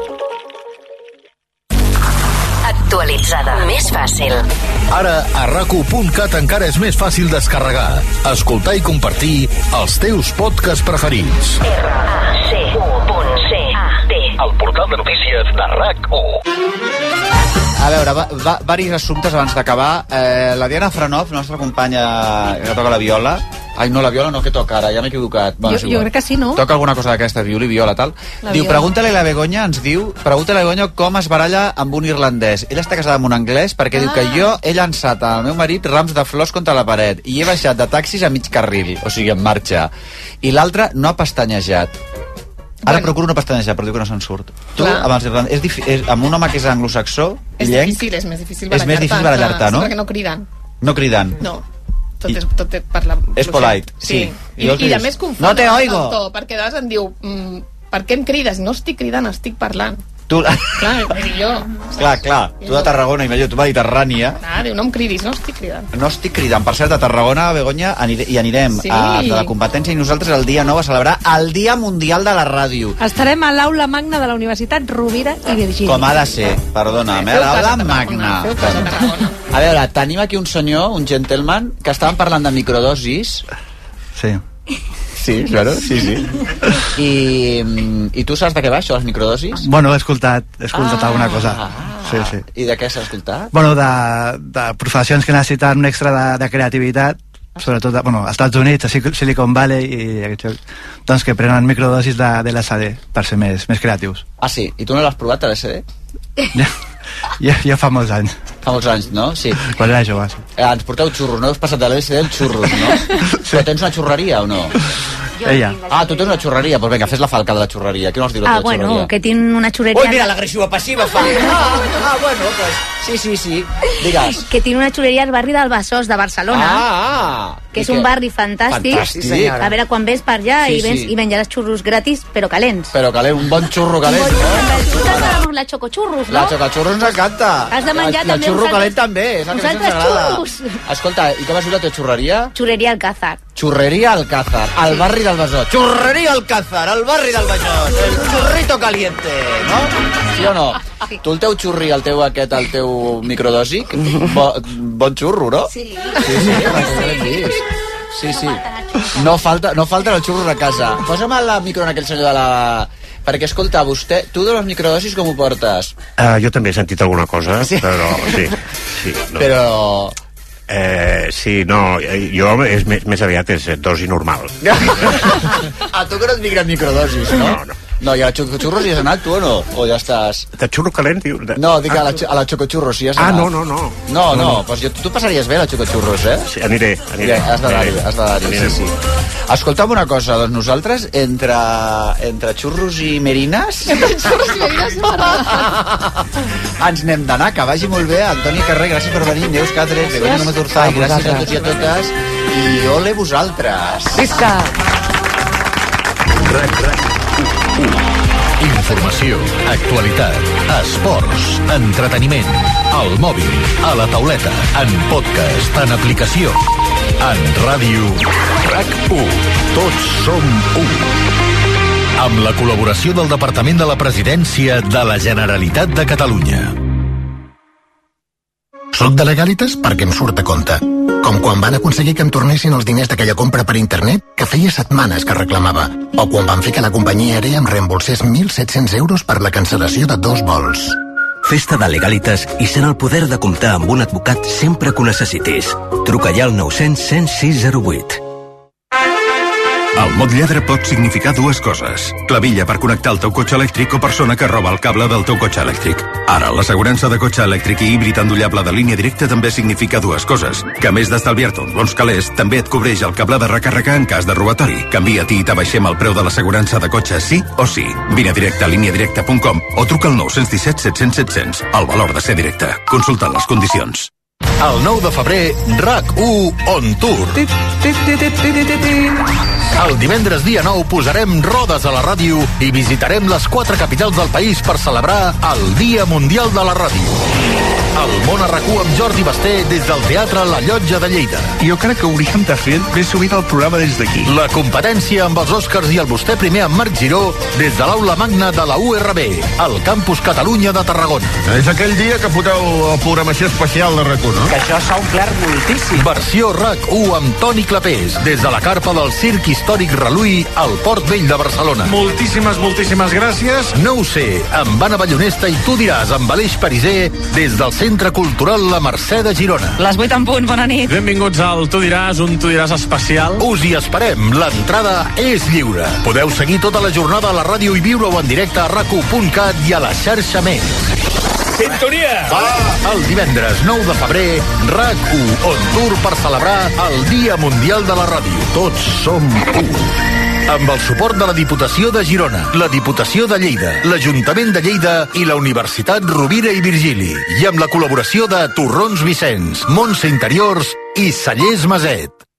Speaker 28: Et
Speaker 25: actualitzada. Més fàcil. Ah,
Speaker 1: Ara, a raco.cat encara és més fàcil descarregar, escoltar i compartir els teus podcasts preferits.
Speaker 25: C.U.C.A.T.
Speaker 20: El portal de notícies de RAC1.
Speaker 4: A veure, va, va, varis assumptes abans d'acabar. Eh, la Diana Franov, nostra companya que toca la viola... Ai, no, la viola no, que toca ara? Ja m'he equivocat. Bueno,
Speaker 7: Jo,
Speaker 4: és
Speaker 7: jo
Speaker 4: igual.
Speaker 7: crec que sí, no?
Speaker 4: Toca alguna cosa d'aquesta, viola i viola, tal.
Speaker 7: La
Speaker 4: diu,
Speaker 7: viola.
Speaker 4: pregunta-li a la Begoña, ens diu, pregunta a la Begoña com es baralla amb un irlandès. Ella està casada amb un anglès perquè diu que jo he llançat al meu marit rams de flors contra la paret i he baixat de taxis a mig carril, o sigui, en marxa. I l'altre no ha pestanyejat. Ara bueno. procuro no pestanejar, però diu que no se'n surt. Tu,
Speaker 8: Clar.
Speaker 4: amb, els irlandesos, és, difi- és, amb un home que és anglosaxó,
Speaker 8: És
Speaker 4: illenc,
Speaker 8: difícil, eh? és més difícil
Speaker 4: És més
Speaker 8: barallar-te.
Speaker 4: difícil barallar-te,
Speaker 8: clar,
Speaker 4: no?
Speaker 8: sí, Perquè no criden.
Speaker 4: no cridant.
Speaker 8: No. Tot
Speaker 4: I-
Speaker 8: és, tot és per la...
Speaker 4: És polite, sí.
Speaker 8: I,
Speaker 4: jo els
Speaker 8: i, i a
Speaker 4: dius,
Speaker 8: més confon
Speaker 4: "No te
Speaker 8: el
Speaker 4: oigo".
Speaker 8: To, perquè de vegades em diu... Mm, per què em crides? No estic cridant, estic parlant.
Speaker 4: Tu, *laughs*
Speaker 8: Clar, vull dir jo...
Speaker 4: clar, clar, tu de Tarragona, i millor, tu mediterrània,
Speaker 8: Clar, diu, no em cridis, no estic cridant.
Speaker 4: no estic cridant. Per cert, a Tarragona, a Begoña, anire, hi anirem
Speaker 7: Sí.
Speaker 4: a Art de la competència i nosaltres el dia 9 a celebrar el Dia Mundial de la Ràdio.
Speaker 7: Estarem a l'aula magna de la Universitat Rovira i Virgínia.
Speaker 4: Com ha de ser, perdona'm, eh?
Speaker 7: Feu cas a
Speaker 4: L'aula
Speaker 7: Tarragona,
Speaker 4: magna.
Speaker 7: feu cas a
Speaker 4: A veure, tenim aquí un senyor, un gentleman, que estàvem parlant de microdosis. Sí. Sí, claro, sí, sí. I, mm, I tu saps de què va això, les microdosis?
Speaker 5: Bueno, he escoltat, he escoltat
Speaker 4: Ah.
Speaker 5: ah. alguna cosa. Sí, sí.
Speaker 4: I de què s'ha escoltat?
Speaker 5: Bueno, de, de professions que necessiten un extra de, de creativitat, sobretot a, bueno, als Estats Units, a Sil- Silicon Valley i aquests llocs, doncs que prenen microdosis de, de l'SD per ser més, més creatius.
Speaker 4: Ah, sí, i tu no l'has provat, a l'SD?
Speaker 5: Jo, jo fa molts anys,
Speaker 4: Fa molts anys, no? Sí.
Speaker 5: quan era jove. Sí.
Speaker 4: Eh, ens porteu xurros, no heu passat de l'LSD al xurros,
Speaker 5: *laughs*
Speaker 4: no? Sí. Però tens una xurreria o no?
Speaker 5: Ella.
Speaker 4: Ah, tu tens una xurreria, doncs pues vinga, fes la falca de la xurreria. Qui no els diu la
Speaker 25: Ah,
Speaker 4: teva
Speaker 25: bueno,
Speaker 4: xurreria?
Speaker 25: que tiene una chulería...
Speaker 4: Ui, mira, l'agressiva passiva fa. Ah, ah, bueno, pues, sí, sí, sí. Digues.
Speaker 25: Que tiene una chulería al barri del Besòs de Barcelona.
Speaker 4: Ah, ah.
Speaker 25: que és
Speaker 4: I
Speaker 25: un
Speaker 4: què?
Speaker 25: barri fantàstic.
Speaker 4: Fantàstic. Sí, senyora.
Speaker 25: A veure quan vens per allà
Speaker 4: Sí,
Speaker 25: i, vens,
Speaker 4: sí.
Speaker 25: i menjaràs xurros gratis, però calents.
Speaker 4: Però calent, un bon xurro calent.
Speaker 25: Tu t'agradaran la xocoxurros, no?
Speaker 4: La xocaxurro ens encanta.
Speaker 25: Has de
Speaker 4: I
Speaker 25: menjar
Speaker 4: el,
Speaker 25: també
Speaker 4: xurro
Speaker 25: uns altres-
Speaker 4: calent també, és el
Speaker 25: uns
Speaker 4: que més ens
Speaker 25: altres
Speaker 4: agrada.
Speaker 25: xurros.
Speaker 4: Escolta, i com es diu la teva xurreria?
Speaker 25: Xureria Alcázar.
Speaker 4: Xurreria Alcázar, al barri del Besó. Xurreria Alcázar, al barri del Besó. El xurrito caliente, no? *laughs* Sí o no? Tu el teu xurri, el teu aquest, el teu microdòsic, bo, bon xurro, no? Sí. Sí, sí, sí. vist. Sí, sí. No falta, no falta el xurro a casa. Posa'm la micro en aquell senyor de la... Perquè, escolta, vostè, tu de les microdosis com ho *laughs* portes?
Speaker 3: Uh, jo també he sentit alguna cosa, sí. però sí. sí no.
Speaker 4: Però...
Speaker 3: Eh, sí, no, eh, jo és més, més aviat és eh, dosi normal.
Speaker 4: A Ah, tu que no et migren microdosis, no? No, no. No, i a la xocoxurros hi has anat tu o no? O ja estàs...
Speaker 3: De xurro calent, diu? De...
Speaker 4: No, dic a la, xo- a la xocoxurros si hi has
Speaker 3: Ah,
Speaker 4: anat.
Speaker 3: no, no, no.
Speaker 4: No,
Speaker 3: No,
Speaker 4: no,
Speaker 3: no.
Speaker 4: doncs jo, tu passaries bé a la xocoxurros, eh?
Speaker 3: Sí, aniré, aniré.
Speaker 4: Bé, has d'anar-hi,
Speaker 3: Aniré.
Speaker 4: has d'anar-hi,
Speaker 3: Aniré.
Speaker 4: sí, sí. Escolta'm una cosa, doncs nosaltres, entre, entre xurros i
Speaker 3: *laughs*
Speaker 4: merines,
Speaker 14: Xurros i merines,
Speaker 4: ens n'hem d'anar, que vagi molt bé. Antoni Carrer, gràcies per venir. Neus Catres, Begoña Número Urzai,
Speaker 30: A
Speaker 4: gràcies a tots i a
Speaker 30: vosaltres.
Speaker 4: totes. I ole vosaltres.
Speaker 30: Visca!
Speaker 1: RAC, RAC1. Informació, actualitat, esports, entreteniment, al mòbil, a la tauleta, en podcast, en aplicació, en ràdio. RAC1. Tots som un. Amb la col·laboració del Departament de la Presidència de la Generalitat de Catalunya.
Speaker 22: Soc de legalites perquè em surt a compte. Com quan van aconseguir que em tornessin els diners d'aquella compra per internet que feia setmanes que reclamava. O quan van fer que la companyia aèria em reembolsés 1.700 euros per la cancel·lació de dos vols. Festa de Legalitas i sent el poder de comptar amb un advocat sempre que ho necessitis. Truca ja al 900 106 08.
Speaker 19: El mot lladre pot significar dues coses. Clavilla per connectar el teu cotxe elèctric o persona que roba el cable del teu cotxe elèctric. Ara, l'assegurança de cotxe elèctric i híbrid endollable de línia directa també significa dues coses. Que a més d'estalviar-te uns bons calés, també et cobreix el cable de recàrrega en cas de robatori. Canvia-t'hi i t'abaixem el preu de l'assegurança de cotxe sí o sí. Vine a directe a líniadirecta.com o truca al 917 700 700. El valor de ser directe. Consulta les condicions.
Speaker 1: El 9 de febrer, RAC1 on tour. El divendres dia 9 posarem rodes a la ràdio i visitarem les quatre capitals del país per celebrar el Dia Mundial de la Ràdio. El món arracú amb Jordi Basté des del Teatre La Llotja de Lleida.
Speaker 2: Jo crec que hauríem de fer més sovint el programa des d'aquí.
Speaker 1: La competència amb els Oscars i el vostè primer amb Marc Giró des de l'aula magna de la URB, al Campus Catalunya de Tarragona.
Speaker 26: És aquell dia que foteu la programació especial de RAC1, no?
Speaker 5: Que això s'ha omplert moltíssim.
Speaker 1: Versió RAC1 amb Toni Clapés, des de la carpa del Circ Històric Reluí al Port Vell de Barcelona.
Speaker 2: Moltíssimes, moltíssimes gràcies.
Speaker 1: No ho sé, amb Anna Ballonesta i tu diràs amb Aleix Pariser des del Centre Cultural La Mercè de Girona.
Speaker 6: Les 8 en punt, bona nit.
Speaker 2: Benvinguts al Tu diràs, un Tu diràs especial.
Speaker 1: Us hi esperem, l'entrada és lliure. Podeu seguir tota la jornada a la ràdio i viure-ho en directe a racu.cat i a la xarxa més.
Speaker 2: Sintonia!
Speaker 1: Va! El divendres 9 de febrer, RAC1 on tour per celebrar el Dia Mundial de la Ràdio. Tots som u. Amb el suport de la Diputació de Girona, la Diputació de Lleida, l'Ajuntament de Lleida i la Universitat Rovira i Virgili. I amb la col·laboració de Torrons Vicenç, Montse Interiors i Sallés Maset.